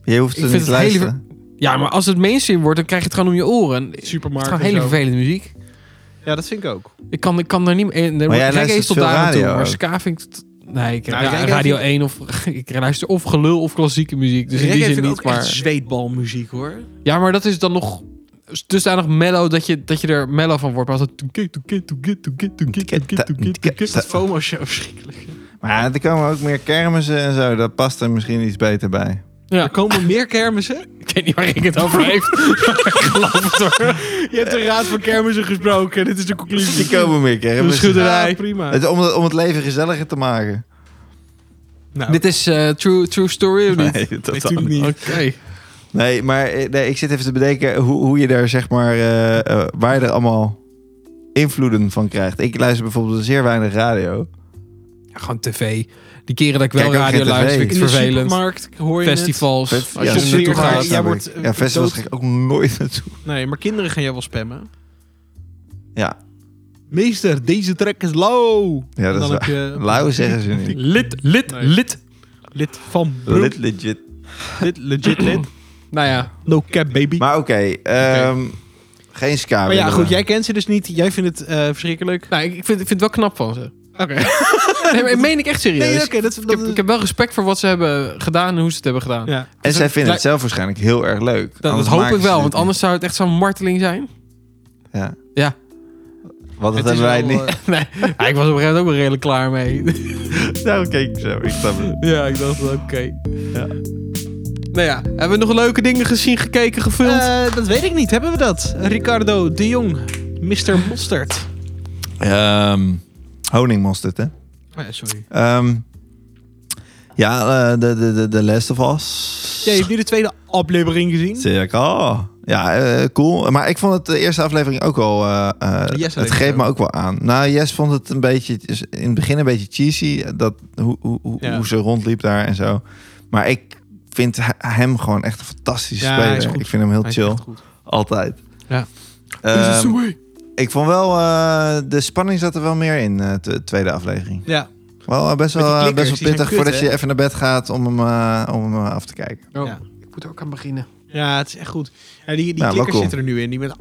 S3: Je hoeft
S2: Ik
S3: er
S2: vind
S3: niet
S2: het
S3: te
S2: hele
S3: luisteren.
S2: Ja, maar als het mainstream wordt, dan krijg je het gewoon om je oren. Het is
S4: Supermarkt
S2: gewoon
S4: en
S2: hele
S4: zo.
S2: vervelende muziek.
S4: Ja, dat vind ik ook.
S2: Ik kan, ik kan daar niet meer...
S3: Maar
S2: reggae
S3: jij
S2: is
S3: luistert
S2: tot
S3: veel
S2: daar aan toe,
S3: radio
S2: maar
S3: ook.
S2: ska vind ik... t- Nee, ik,
S4: Nou,
S2: ja,
S4: reggae
S2: Radio
S4: vind-
S2: 1 of... [LAUGHS] Ik luister of gelul of klassieke muziek. Dus in die
S4: Reggae
S2: zin
S4: vind ik
S2: niet,
S4: ook
S2: maar...
S4: echt zweetbalmuziek, hoor.
S2: Ja, maar dat is dan nog dusdanig mellow dat je, dat je er mellow van wordt. Maar als dat... toekik, toekik, toekik, toekik, toekik, toekik, toekik, toekik,
S4: Is dat FOMO-show verschrikkelijk?
S3: Maar er komen ook meer kermissen en zo. Daar past er misschien iets beter bij.
S4: Er komen meer kermissen.
S2: Ik weet niet waar ik het
S3: [LAUGHS]
S2: over heeft.
S4: Je hebt de Raad van Kermissen gesproken. Dit is de
S3: Er
S4: conclusie.
S3: komen meer
S4: Een
S3: kermissen.
S4: schutterij.
S2: Ja,
S4: prima.
S3: Het, om, het, om het leven gezelliger te maken.
S4: Nou,
S2: Dit is eh, true, true story of niet?
S3: Nee, totaal
S4: natuurlijk
S3: niet.
S4: niet.
S2: Oké.
S3: Nee, maar eh, nee, ik zit even te bedenken hoe, hoe je daar zeg maar, eh, eh, waar je er allemaal invloeden van krijgt. Ik luister bijvoorbeeld zeer weinig radio.
S2: Ja, gewoon tv. Die keren dat ik wel
S3: Kijk ook
S2: radio
S3: geen
S2: luister,
S3: tv.
S2: vind ik
S4: In
S2: het
S4: de
S2: vervelend.
S4: supermarkt hoor je het.
S2: Festivals,
S3: Fest-
S2: als
S3: ja,
S2: je er naartoe
S4: zeker.
S2: gaat.
S4: Jij
S3: snap ik.
S4: wordt, eh,
S3: ja, festivals
S4: dood-
S3: ga ik ook nooit naartoe.
S4: Nee, maar kinderen gaan jou wel spammen.
S3: Ja,
S4: Meester, deze trek is low.
S3: ja dat is waar.
S4: je
S3: [LAUGHS] Lauw zeggen ze niet.
S2: Lid, lid,
S4: Nee.
S2: lid.
S4: lid van broek.
S3: Lid legit.
S4: Lid, [CLEARS THROAT] legit lid.
S2: Nou ja,
S4: No cap, baby. Maar,
S3: Maar oké, ehm, geen ska.
S4: ja,
S3: willen we.
S4: goed, jij kent ze dus niet. Jij vindt het eh, verschrikkelijk.
S2: nou, ik, ik, vind, ik vind het wel knap [LAUGHS] van ze.
S4: Oké.
S3: [LAUGHS]
S2: Nee, maar ik meen ik echt serieus.
S4: Nee, oké, dat,
S2: ik, heb, ik heb wel respect voor wat ze hebben gedaan en hoe ze het hebben gedaan.
S4: ja.
S3: En zij vinden het
S2: Daar-
S3: zelf waarschijnlijk heel erg leuk.
S2: Dat, dat
S3: Anders
S2: hoop
S3: maken
S2: ik
S3: ze
S2: wel,
S3: dit
S2: want
S3: niet.
S2: anders zou het echt zo'n marteling zijn.
S3: Ja.
S2: Ja.
S3: Want dat
S2: Het is
S3: hebben wij
S2: wel,
S3: niet.
S2: eh, nee, [LAUGHS] ja, ik was op een gegeven moment ook wel redelijk klaar mee. [LAUGHS]
S3: Ehm,
S2: eh,
S3: [LAUGHS] Daarom keek ik Nou, zo. Ik snap het.
S2: ja, ik dacht, oké.
S3: Ja.
S2: Nou ja, hebben we nog leuke dingen gezien, gekeken, gevuld?
S4: Eh, dat weet ik niet. Hebben we dat? Ricardo de Jong. Mr. Mostert.
S3: Ehm, honingmosterd, hè?
S4: Eh, sorry.
S3: Ehm, ja, eh, de, de, de, de Last of Us.
S4: Jij hebt nu de tweede aflevering gezien.
S3: Circa. Ja, eh, cool. Maar ik vond het de eerste aflevering ook wel... eh, eh,
S4: Jess
S3: het
S4: heeft
S3: greep
S4: het
S3: me
S4: ook.
S3: ook wel aan. Nou, Jess vond het een beetje... is In het begin een beetje cheesy. Dat, hoe, hoe, hoe,
S4: Ja.
S3: hoe ze rondliep daar en zo. Maar ik vind he- hem gewoon echt een fantastische
S4: Ja, hij is
S3: speler.
S4: goed.
S3: Ik vind hem heel
S4: Hij is
S3: chill.
S4: echt goed.
S3: Altijd.
S4: Ja.
S2: Dus
S3: Ehm, ik vond wel... eh, de spanning zat er wel meer in, eh, de tweede aflevering.
S4: Ja.
S3: Wel eh, best
S4: Met die
S3: wel, eh,
S4: klikkers,
S3: best wel
S4: die
S3: pittig
S4: zijn kut,
S3: voordat
S4: hè?
S3: je even naar bed gaat om hem, eh, om hem eh, af te kijken.
S6: Oh,
S4: Ja.
S6: Ik moet er ook aan beginnen.
S4: ja, het is echt goed. Ja, die die
S3: wel
S4: klikkers
S3: cool.
S4: zitten er nu in. Die met...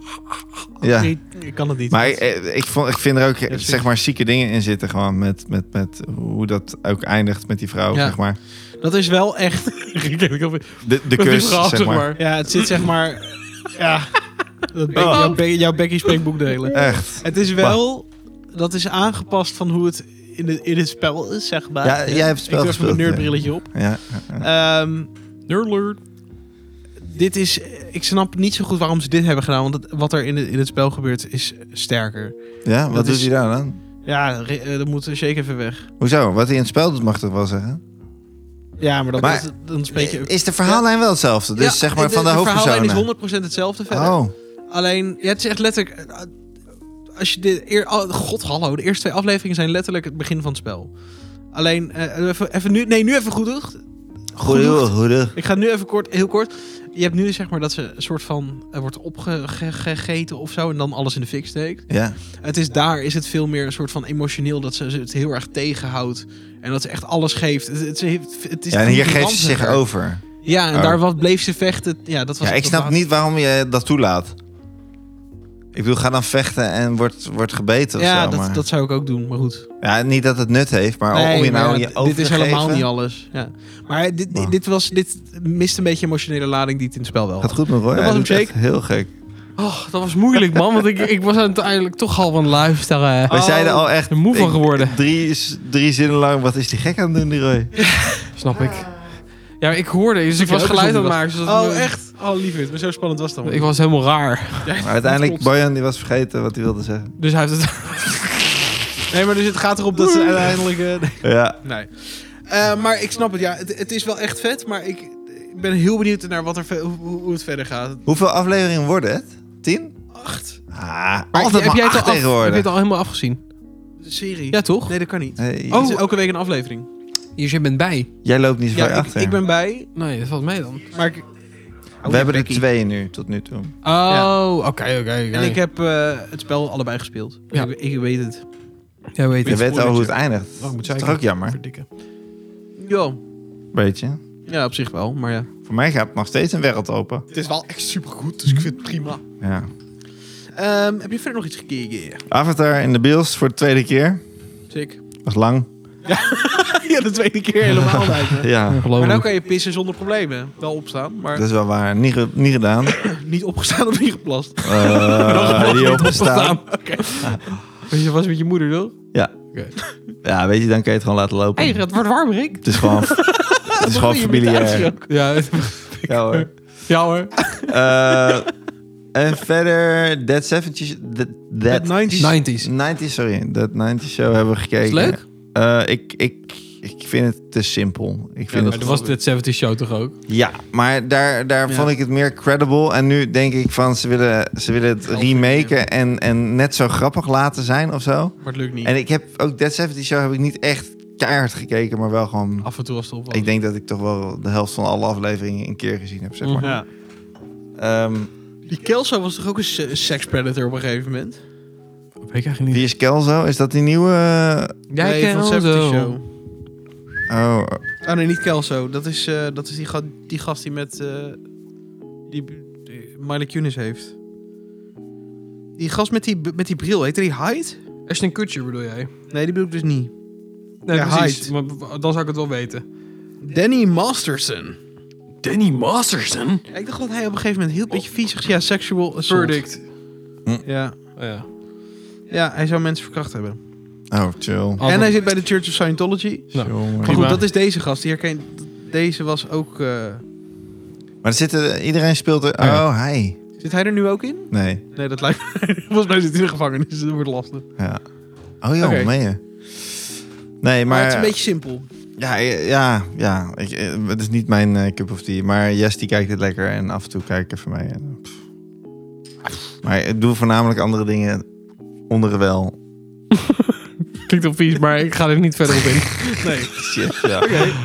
S3: Ja.
S4: Nee, ik kan het niet.
S3: Maar eh, ik, vond, ik vind er ook eh,
S4: precies.
S3: zeg maar zieke dingen in zitten gewoon met, met, met hoe dat ook eindigt met die vrouw
S4: Ja.
S3: zeg maar.
S4: Dat is wel echt... [LAUGHS] Ik heb- ik heb-
S3: De, de
S2: Met die
S3: kus
S2: vrouw,
S3: zeg maar.
S4: Ja, het zit zeg maar. ja. Dat Becky-
S3: Oh.
S4: jouw, Be- jouw Becky spreekboek delen.
S3: Echt.
S4: Het is wel. Dat is aangepast van hoe het in, de, in het spel is, zeg maar.
S3: Ja, jij hebt het spel
S4: Ik durf
S3: gespeeld,
S4: mijn
S3: ja.
S4: nerdbrilletje op.
S3: Ja.
S4: Ehm,
S2: Nerdlert.
S4: dit is. Ik snap niet zo goed waarom ze dit hebben gedaan. Want het- wat er in, het- in het spel gebeurt is sterker.
S3: Ja, wat
S4: Dat
S3: doet
S4: is-
S3: hij daar dan?
S4: Ja, re- eh, dan moet Shake even weg.
S3: Hoezo? Wat hij in het spel doet mag toch wel zeggen?
S4: Ja, maar, dat,
S3: Maar-
S4: dat- dan spreek je.
S3: Is de verhaallijn wel hetzelfde? Dus
S4: Ja,
S3: zeg maar
S4: de-
S3: van de,
S4: De verhaallijn is
S3: hoofdpersonen?
S4: 100% hetzelfde verder.
S3: Oh,
S4: Alleen, ja, het is echt letterlijk. eh, Als je dit eer, oh, God, hallo. De eerste twee afleveringen zijn letterlijk het begin van het spel. Alleen, eh, even, even nu. Nee, nu even goed.
S3: goede, goede.
S4: Ik ga nu even kort, heel kort. Je hebt nu zeg maar dat ze een soort van. eh, wordt opgegeten of zo. En dan alles in de fik steekt.
S3: Ja.
S4: Het is daar, is het veel meer een soort van emotioneel. Dat ze ze het heel erg tegenhoudt. En dat ze echt alles geeft. Het, het, het, het is
S3: ja, en hier geeft ze
S4: ranziger.
S3: zich over.
S4: Ja, en
S3: Oh.
S4: daar wat bleef ze vechten. Ja, dat was
S3: Ja,
S4: het
S3: ik snap
S4: laatste.
S3: niet waarom je dat toelaat. Ik bedoel, ga dan vechten en wordt, wordt gebeten of
S4: Ja,
S3: zo. maar-
S4: dat, dat zou ik ook doen. Maar goed.
S3: Ja, niet dat het nut heeft, maar
S4: Nee,
S3: om je
S4: maar
S3: nou
S4: ja,
S3: je over
S4: dit is
S3: te
S4: helemaal
S3: geven-
S4: niet alles. Ja. Maar dit,
S3: Wow.
S4: dit, was, dit mist een beetje emotionele lading die het in het spel wel
S3: Gaat
S4: had.
S3: goed met Roy.
S4: Dat
S3: Hij
S4: was hem
S3: doet echt
S4: zeker.
S3: Heel gek.
S2: Oh, dat was moeilijk, man. Want ik, ik was uiteindelijk toch al van luisteren. eh.
S3: Wij zeiden al echt...
S2: er moe van
S3: ik-
S2: geworden.
S3: Drie, drie zinnen lang, wat is die gek aan het doen, die Roy?
S2: Snap ik. Ja, maar ik hoorde. Dus ik
S4: je
S2: was
S4: ook
S2: geluid aan
S4: gezond
S2: het maken. zodat
S4: Oh,
S2: me-
S4: echt? Oh, lieverd. Maar zo spannend was het dan.
S2: Ik was helemaal raar.
S3: Maar uiteindelijk,
S4: klopt.
S3: Bojan die was vergeten wat hij wilde zeggen.
S2: Dus hij heeft het...
S4: Nee, maar dus het gaat erop dat ze uiteindelijk... eh, nee.
S3: Ja,
S4: nee. Eh, maar ik snap het, ja. Het, het is wel echt vet, maar ik, ik ben heel benieuwd naar wat er, ve- hoe, hoe het verder gaat.
S3: hoeveel afleveringen worden het? Tien?
S4: Acht
S3: Ah,
S2: Maar
S3: altijd maar
S2: het al
S3: acht
S2: af- Heb je
S3: tegenwoordig.
S2: het al helemaal afgezien?
S4: serie.
S2: Ja, toch?
S4: Nee, dat kan niet.
S3: Nee,
S4: Oh,
S2: Oh.
S4: het is elke week een aflevering.
S2: Dus jij bent bij. Oh,
S3: Jij loopt niet zo ver
S4: Ja, ik,
S3: achter.
S4: ik ben bij,
S2: Nee, dat valt mee dan.
S4: maar ik...
S3: We hebben er
S4: Oh, Becky.
S3: twee nu, tot nu toe.
S2: Oh, oké, oké. oké.
S4: En ik heb eh, het spel allebei gespeeld.
S2: Ja.
S4: Ik, ik weet het.
S2: Jij weet
S3: Je
S2: het.
S3: weet al hoe het eindigt.
S6: Oh, ik moet
S3: Dat is toch
S6: zeiken.
S3: ook jammer?
S6: Verdikken.
S4: Ja.
S3: Beetje.
S4: Ja, op zich wel, maar ja.
S3: Voor mij gaat nog steeds een wereld open.
S6: Het is wel echt supergoed, dus ik vind het prima.
S3: Ja.
S4: Ehm, heb je verder nog iets gekeken?
S3: Avatar in de bios voor de tweede keer.
S4: Sick.
S3: Was lang.
S4: [LAUGHS] ja, de tweede keer
S3: [LAUGHS]
S4: helemaal lijkt me.
S3: Ja.
S4: Maar nou
S2: Ongelooflijk.
S4: kan je pissen zonder problemen. Wel opstaan, maar
S3: Dat is wel waar. Niet, ge- niet gedaan.
S4: niet opgestaan of niet geplast.
S3: Eh die opgestaan.
S2: Opgestaan. [LAUGHS] Want Je was met je moeder, toch?
S3: Ja. ja, weet je, dan kun je het gewoon laten lopen.
S2: Hé, het wordt warmer, ik.
S3: Het is
S2: [LAUGHS]
S3: gewoon, het is gewoon familiair.
S2: Ja, [LAUGHS]
S3: Ja, hoor.
S2: ja hoor.
S3: Eh, en verder, Dead 70 That, that
S4: 90s.
S2: 90s.
S3: 90s, sorry. Dead 90s show hebben we gekeken.
S2: Is leuk?
S3: Eh, ik, ik, ik vind het te simpel. Ik vind
S2: Maar
S3: het,
S2: dat was het 70 show toch ook?
S3: ja, maar daar, daar
S4: Ja.
S3: vond ik het meer credible. En nu denk ik van, ze willen, ze willen het
S4: Geld
S3: remaken en, en net zo grappig laten zijn of zo.
S4: Maar het lukt niet.
S3: En ik heb ook Dead 70 show heb ik niet echt keihard gekeken, maar wel gewoon...
S1: Oh.
S4: Af en toe was het op.
S3: Ik denk dat ik toch wel de helft van alle afleveringen een keer gezien heb, zeg maar.
S4: Ja.
S1: Mhm.
S3: Ehm,
S4: Die Kelso was toch ook een se- sex predator op een gegeven moment?
S2: Weet ik eigenlijk
S3: wie is Kelzo? Is dat die nieuwe...
S2: Jij
S4: nee, van
S2: kent
S4: Safety
S2: zo.
S4: Show.
S3: Oh,
S4: Ah nee, niet Kelso. Dat is, eh, dat is die, ga- die gast die met... eh, die, die Miley Kunis heeft. Die gast met die, met die bril, heette die Hyde?
S2: Ashton Kutcher bedoel jij?
S4: Nee, die bedoel ik dus niet.
S2: Nee,
S4: Ja,
S2: precies.
S4: Hyde.
S2: Maar b- dan zou ik het wel weten.
S4: Danny Masterson.
S2: Danny Masterson?
S4: Ja, Ik dacht dat hij op een gegeven moment heel beetje viezig... Ja, sexual assault.
S2: Verdict.
S4: Ja.
S2: Oh, ja.
S1: Ja, hij zou mensen verkracht hebben.
S3: Oh, chill.
S1: En
S2: Altijd-
S1: hij zit bij de Church of Scientology.
S2: Nou,
S3: Jongen.
S1: Maar
S2: Prima.
S1: goed, dat is deze gast. Die herken... Deze was ook... eh,
S3: Maar er zitten, iedereen speelt er...
S2: Oh, ja.
S3: Oh, hij.
S1: Zit hij er nu ook in?
S3: Nee.
S1: Nee, dat lijkt me... [LAUGHS] Volgens mij zit hij in de gevangenis. dus Dat wordt lastig. Maar,
S3: Ja. Oh joh,
S1: Oké.
S3: meen je? Nee, maar...
S1: het is een beetje simpel.
S3: Ja, ja, ja. Ik, eh, het is niet mijn eh, cup of tea. Maar Jess die kijkt het lekker en af en toe kijk ik even mee. En, pff. Maar ik doe voornamelijk andere dingen onder wel.
S2: Klinkt wel vies, maar ik ga er niet verder op [LAUGHS] in.
S1: Nee.
S3: Shit, ja.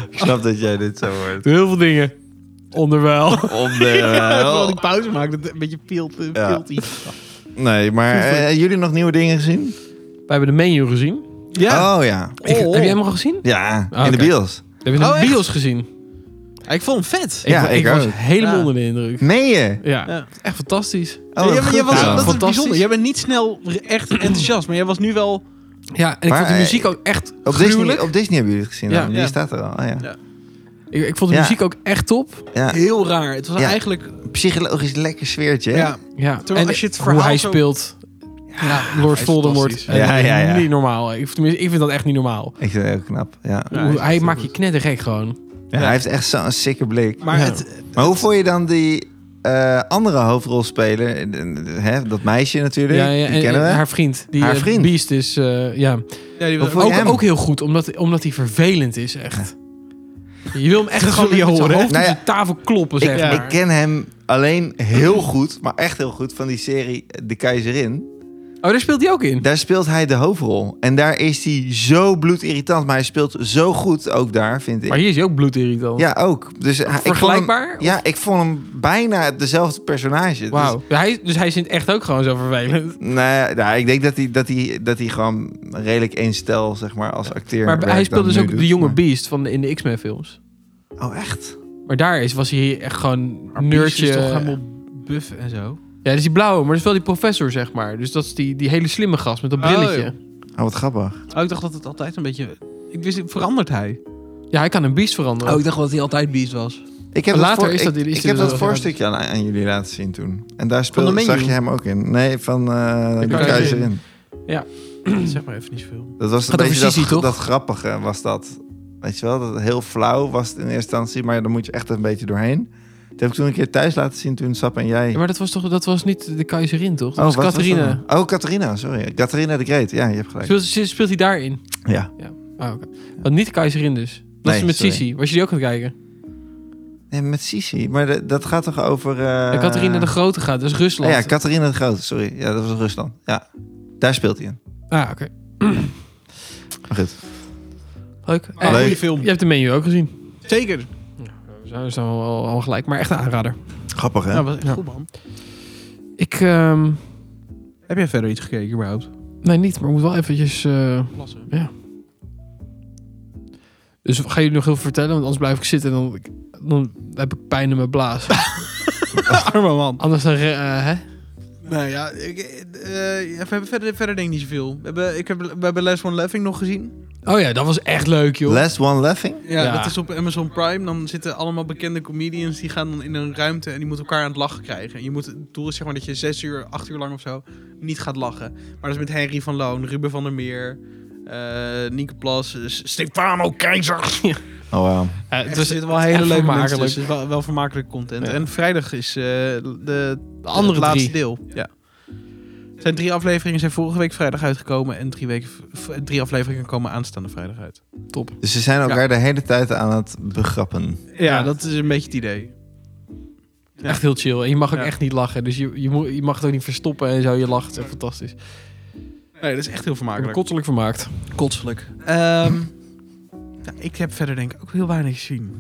S3: Ik snap dat jij dit zo hoort.
S2: Heel veel dingen. Onderwijl.
S1: [LAUGHS]
S3: Onder
S1: Terwijl
S3: wel.
S1: ik pauze maak, dat het een beetje pilt, eh,
S3: Ja.
S1: piltie.
S3: Nee, maar eh, jullie nog nieuwe dingen gezien?
S2: We hebben de menu gezien.
S1: Ja.
S3: Oh ja.
S2: Ik-
S1: Oh.
S2: Heb jij hem al gezien?
S3: Ja,
S2: Ah,
S3: in de
S2: oké.
S3: bios.
S2: We hebben
S1: Oh,
S2: de
S1: echt?
S2: bios gezien.
S1: Ik vond hem vet.
S3: Ja,
S2: wa-
S3: ik
S2: was
S3: ook.
S2: helemaal
S1: Ja.
S2: onder de indruk.
S3: Meen je?
S2: Ja,
S1: Ja.
S2: echt fantastisch.
S3: Oh, wat
S1: Ja, maar jij
S3: goed
S1: was,
S3: dan.
S1: dat is
S2: Fantastisch.
S1: bijzonder. Jij bent niet snel re- echt enthousiast, maar jij was nu wel...
S2: Ja, en ik
S3: Maar,
S2: vond de
S3: eh,
S2: muziek ook echt
S3: op, Disney,
S2: gruwelijk.
S3: op Disney hebben jullie het gezien.
S2: Ja.
S3: dan. Die
S1: Ja.
S3: staat er al. Ah, ja.
S2: Ik, ik vond de
S3: Ja.
S2: muziek ook echt top.
S3: Ja.
S1: Heel raar. Het was
S3: Ja.
S1: eigenlijk...
S3: Psychologisch lekker sfeertje. hè?
S1: Ja.
S2: Ja.
S1: Terwijl
S2: en
S1: als je het
S2: hoe
S1: verhaal
S2: hij
S1: zo-
S2: speelt,
S1: Ja,
S2: Lord Voldemort.
S1: wordt.
S3: fantastisch. Ja,
S2: Eh,
S3: ja, ja.
S2: Niet normaal. Ik, tenminste, ik vind dat echt niet normaal.
S3: Ik vind het heel knap. Ja.
S1: Ja, hij
S2: Hoe-
S1: is
S2: hij
S1: echt
S2: maakt
S1: heel
S2: je knettergek gewoon.
S3: Ja, Hij heeft echt zo'n sikke blik.
S1: Maar
S2: Ja.
S1: het...
S3: Maar hoe vond je dan die eh, andere hoofdrolspeler? Eh, eh, Hè, dat meisje natuurlijk,
S2: ja,
S3: die
S2: en,
S3: kennen
S2: en
S3: we.
S2: haar vriend. Die,
S3: Haar
S2: eh,
S3: vriend.
S2: Beast is, eh, ja.
S1: Ja, die
S3: Wat
S1: was
S3: vond je
S2: Ook,
S3: hem?
S2: ook heel goed, omdat, omdat hij vervelend is, echt. Je wil hem echt
S1: Dat
S2: gewoon
S1: wil je
S2: met zijn
S1: horen, hè?
S2: hoofd
S3: Nou ja,
S2: op de tafel kloppen, zeg
S3: ik,
S2: maar.
S3: ik ken hem alleen heel goed, maar echt heel goed, van die serie De Keizerin.
S2: Oh, daar speelt hij ook in?
S3: Daar speelt hij de hoofdrol. En daar is hij zo bloedirritant, maar hij speelt zo goed ook daar, vind ik.
S2: Maar hier is hij ook bloedirritant.
S3: Ja, ook. Dus, hij- ik vond
S2: Vergelijkbaar?
S3: hem- ja, ik vond hem bijna dezelfde personage. Dus-
S2: Wauw. Ja, hij- dus hij vindt echt ook gewoon zo vervelend.
S3: nee, nou, ik denk dat hij, dat, hij, dat hij gewoon redelijk één stijl, zeg maar, als acteur
S2: Maar hij
S3: werk
S2: speelt
S3: dan
S2: dus
S3: nu
S2: ook
S3: doet,
S2: de jonge
S3: maar-
S2: Beast van de, in de X-Men films.
S3: Oh, echt?
S2: Maar daar is, was hij echt gewoon nerdje.
S1: is toch helemaal buff en zo?
S2: Ja, dat is die blauwe, maar dat is wel die professor, zeg maar. Dus dat is die, die hele slimme gast met dat
S1: Oh,
S2: brilletje.
S3: Oh, wat grappig.
S1: Oh, ik dacht dat het altijd een beetje... Ik wist, verandert hij?
S2: ja, hij kan een beest veranderen.
S1: Oh,
S3: Oh,
S1: ik dacht dat hij altijd beast was.
S3: Ik heb
S2: Later
S3: dat voor,
S2: is dat-
S3: ik,
S2: is
S3: ik
S2: die
S3: heb
S2: dus
S3: dat
S2: wel-
S3: voorstukje aan, aan jullie laten zien toen. En daar
S1: de
S3: speelde,
S1: menu?
S3: zag je hem ook in. Nee, van eh de
S2: Keizerin.
S3: Keizerin.
S1: [CLEARS THROAT] zeg maar even niet zoveel.
S3: Dat was een
S2: Gaat over
S3: beetje dat,
S2: Sisi, toch?
S3: dat grappige was dat. Weet je wel, dat heel flauw was het in eerste instantie, maar dan moet je echt een beetje doorheen. Dat heb ik toen een keer thuis laten zien toen Sap en jij... Oh,
S2: Ja, maar dat was toch dat was niet de keizerin, toch? Dat
S3: wat
S2: was
S3: dat
S2: Catharina.
S3: dan? Oh, Catharina, sorry. Catharina de Great. Ja, je hebt gelijk.
S2: Speelt, speelt hij daarin?
S3: Ja.
S2: Ah, oké. Want niet de keizerin dus. Dat
S3: Nee,
S2: is met
S3: sorry.
S2: Sisi. Was je die ook aan het kijken?
S3: Nee, met Sisi. Maar de- dat gaat toch over... eh,
S2: Ja, Catharina de Grote gaat, dat is
S3: Ah
S2: Rusland.
S3: Ja, Catharina de Grote, sorry. Ja, dat was Rusland. Ja, daar speelt hij in.
S2: ah, oké.
S3: Maar goed.
S2: Leuk.
S1: Ah,
S2: Eh,
S1: goede film.
S2: Je hebt de menu ook gezien.
S1: Zeker.
S2: We zijn we zijn wel al, gelijk, maar echt een aanrader.
S3: Grappig, hè?
S1: Ja, was echt
S2: Ja.
S1: goed, man.
S2: Ik, ehm,
S1: Heb jij verder iets gekeken überhaupt?
S2: nee niet, maar ik moet wel eventjes... eh,
S1: Plassen.
S2: Dus ga jullie nog heel veel vertellen, want anders blijf ik zitten en dan, dan heb ik pijn in mijn blaas.
S1: [LAUGHS] Arme man.
S2: anders dan... re- eh, hè?
S1: Nou ja, ik, eh, eh, we hebben verder, verder denk ik niet zoveel. We hebben, ik heb, we hebben Les One Laughing nog gezien.
S2: Oh ja, dat was echt leuk, joh.
S3: Last One Laughing?
S1: Ja,
S2: Ja.
S1: dat is op Amazon Prime. Dan zitten allemaal bekende comedians, die gaan dan in een ruimte en die moeten elkaar aan het lachen krijgen. En je moet, het doel is zeg maar dat je zes uur, acht uur lang of zo niet gaat lachen. Maar dat is met Henry van Loon, Ruben van der Meer, eh Nieke Plas, eh, S- Stefano Keizer.
S3: Oh, wauw.
S2: Ja, het
S1: Echt,
S2: was
S1: er zitten wel hele
S2: echt
S1: leuke mensen
S2: vermakelijk.
S1: tussen. Het is wel, wel vermakelijke content.
S2: Ja.
S1: En vrijdag is eh, de,
S2: de andere
S1: het laatste
S2: drie.
S1: deel. Ja. Er zijn drie afleveringen zijn vorige week vrijdag uitgekomen. En drie, weken, v- drie afleveringen komen aanstaande vrijdag uit.
S2: Top.
S3: Dus ze zijn elkaar
S1: Ja.
S3: de hele tijd aan het begrappen. Nou,
S1: Ja, Ah, dat is een beetje het idee. Ja.
S2: Echt heel chill. En je mag ook
S1: Ja.
S2: echt niet lachen. Dus je, je, moet, je mag het ook niet verstoppen en zo. Je lacht. Het is echt fantastisch. Ik
S1: Nee, dat is echt heel
S2: heb me
S1: vermakelijk.
S2: kotselijk vermaakt.
S1: Kotselijk. nou, ik heb verder denk ik ook heel weinig gezien.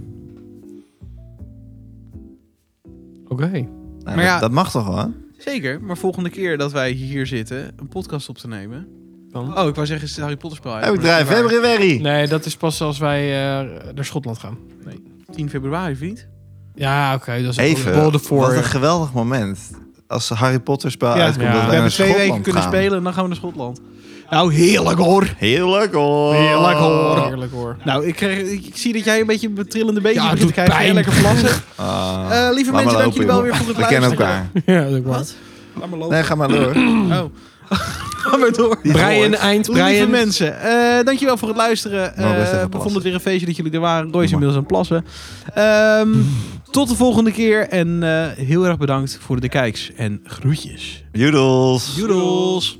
S2: Oké.
S3: Nou,
S1: Maar
S3: dat-
S1: ja-
S3: dat mag toch wel, hè?
S1: Zeker, maar volgende keer dat wij hier zitten, een podcast op te nemen.
S2: Dan?
S1: Oh, ik wou zeggen, is het Harry Potter spel uit.
S3: Heb ik
S1: maar dat is
S3: drijf,
S1: niet waar.
S3: februari.
S2: Nee, dat is pas als wij eh, naar Schotland gaan.
S1: 10 februari, vriend.
S2: Ja, oké. dat is
S3: Even,
S2: Bolde voor.
S3: wat een geweldig moment. Als de Harry Potter spel
S1: Ja,
S3: uitkomt,
S2: ja.
S3: dat
S2: We
S1: We
S3: wij naar
S1: hebben twee
S3: Eh, Schotland
S1: weken kunnen
S3: gaan.
S1: spelen en dan gaan we naar Schotland. Nou, heerlijk hoor.
S3: Heerlijk hoor.
S1: Heerlijk, hoor.
S2: Heerlijk hoor. [LAUGHS]
S1: Nou, ik, kreeg, ik, ik zie dat jij een beetje een trillende beetje
S2: Ja, het
S1: begint te
S2: doet
S1: krijgen.
S2: pijn.
S1: en Lekker
S2: [LAUGHS]
S1: plassen. Eh, lieve
S3: Ah. Laat maar
S1: mensen, dank
S3: lopen,
S1: jullie wel
S3: joh.
S1: weer voor het
S3: We
S1: luisteren.
S3: kennen elkaar.
S2: ja, dat is ook waar.
S1: Wat? Laat maar lopen.
S3: Nee, ga maar door.
S1: Oh.
S2: Gaan we door.
S3: Die
S2: Brian,
S3: gehoord.
S2: eind,
S4: Lieve
S2: Brian.
S4: mensen, eh, dankjewel voor het luisteren.
S3: Nou, best even
S4: Eh, we
S3: plassen.
S4: vonden het weer een feestje dat jullie er waren. Roy is
S3: Ja, maar.
S4: inmiddels aan het plassen. Ehm, tot de volgende keer. En eh, heel erg bedankt voor de kijks. En groetjes.
S3: Joedels.
S4: Doedels.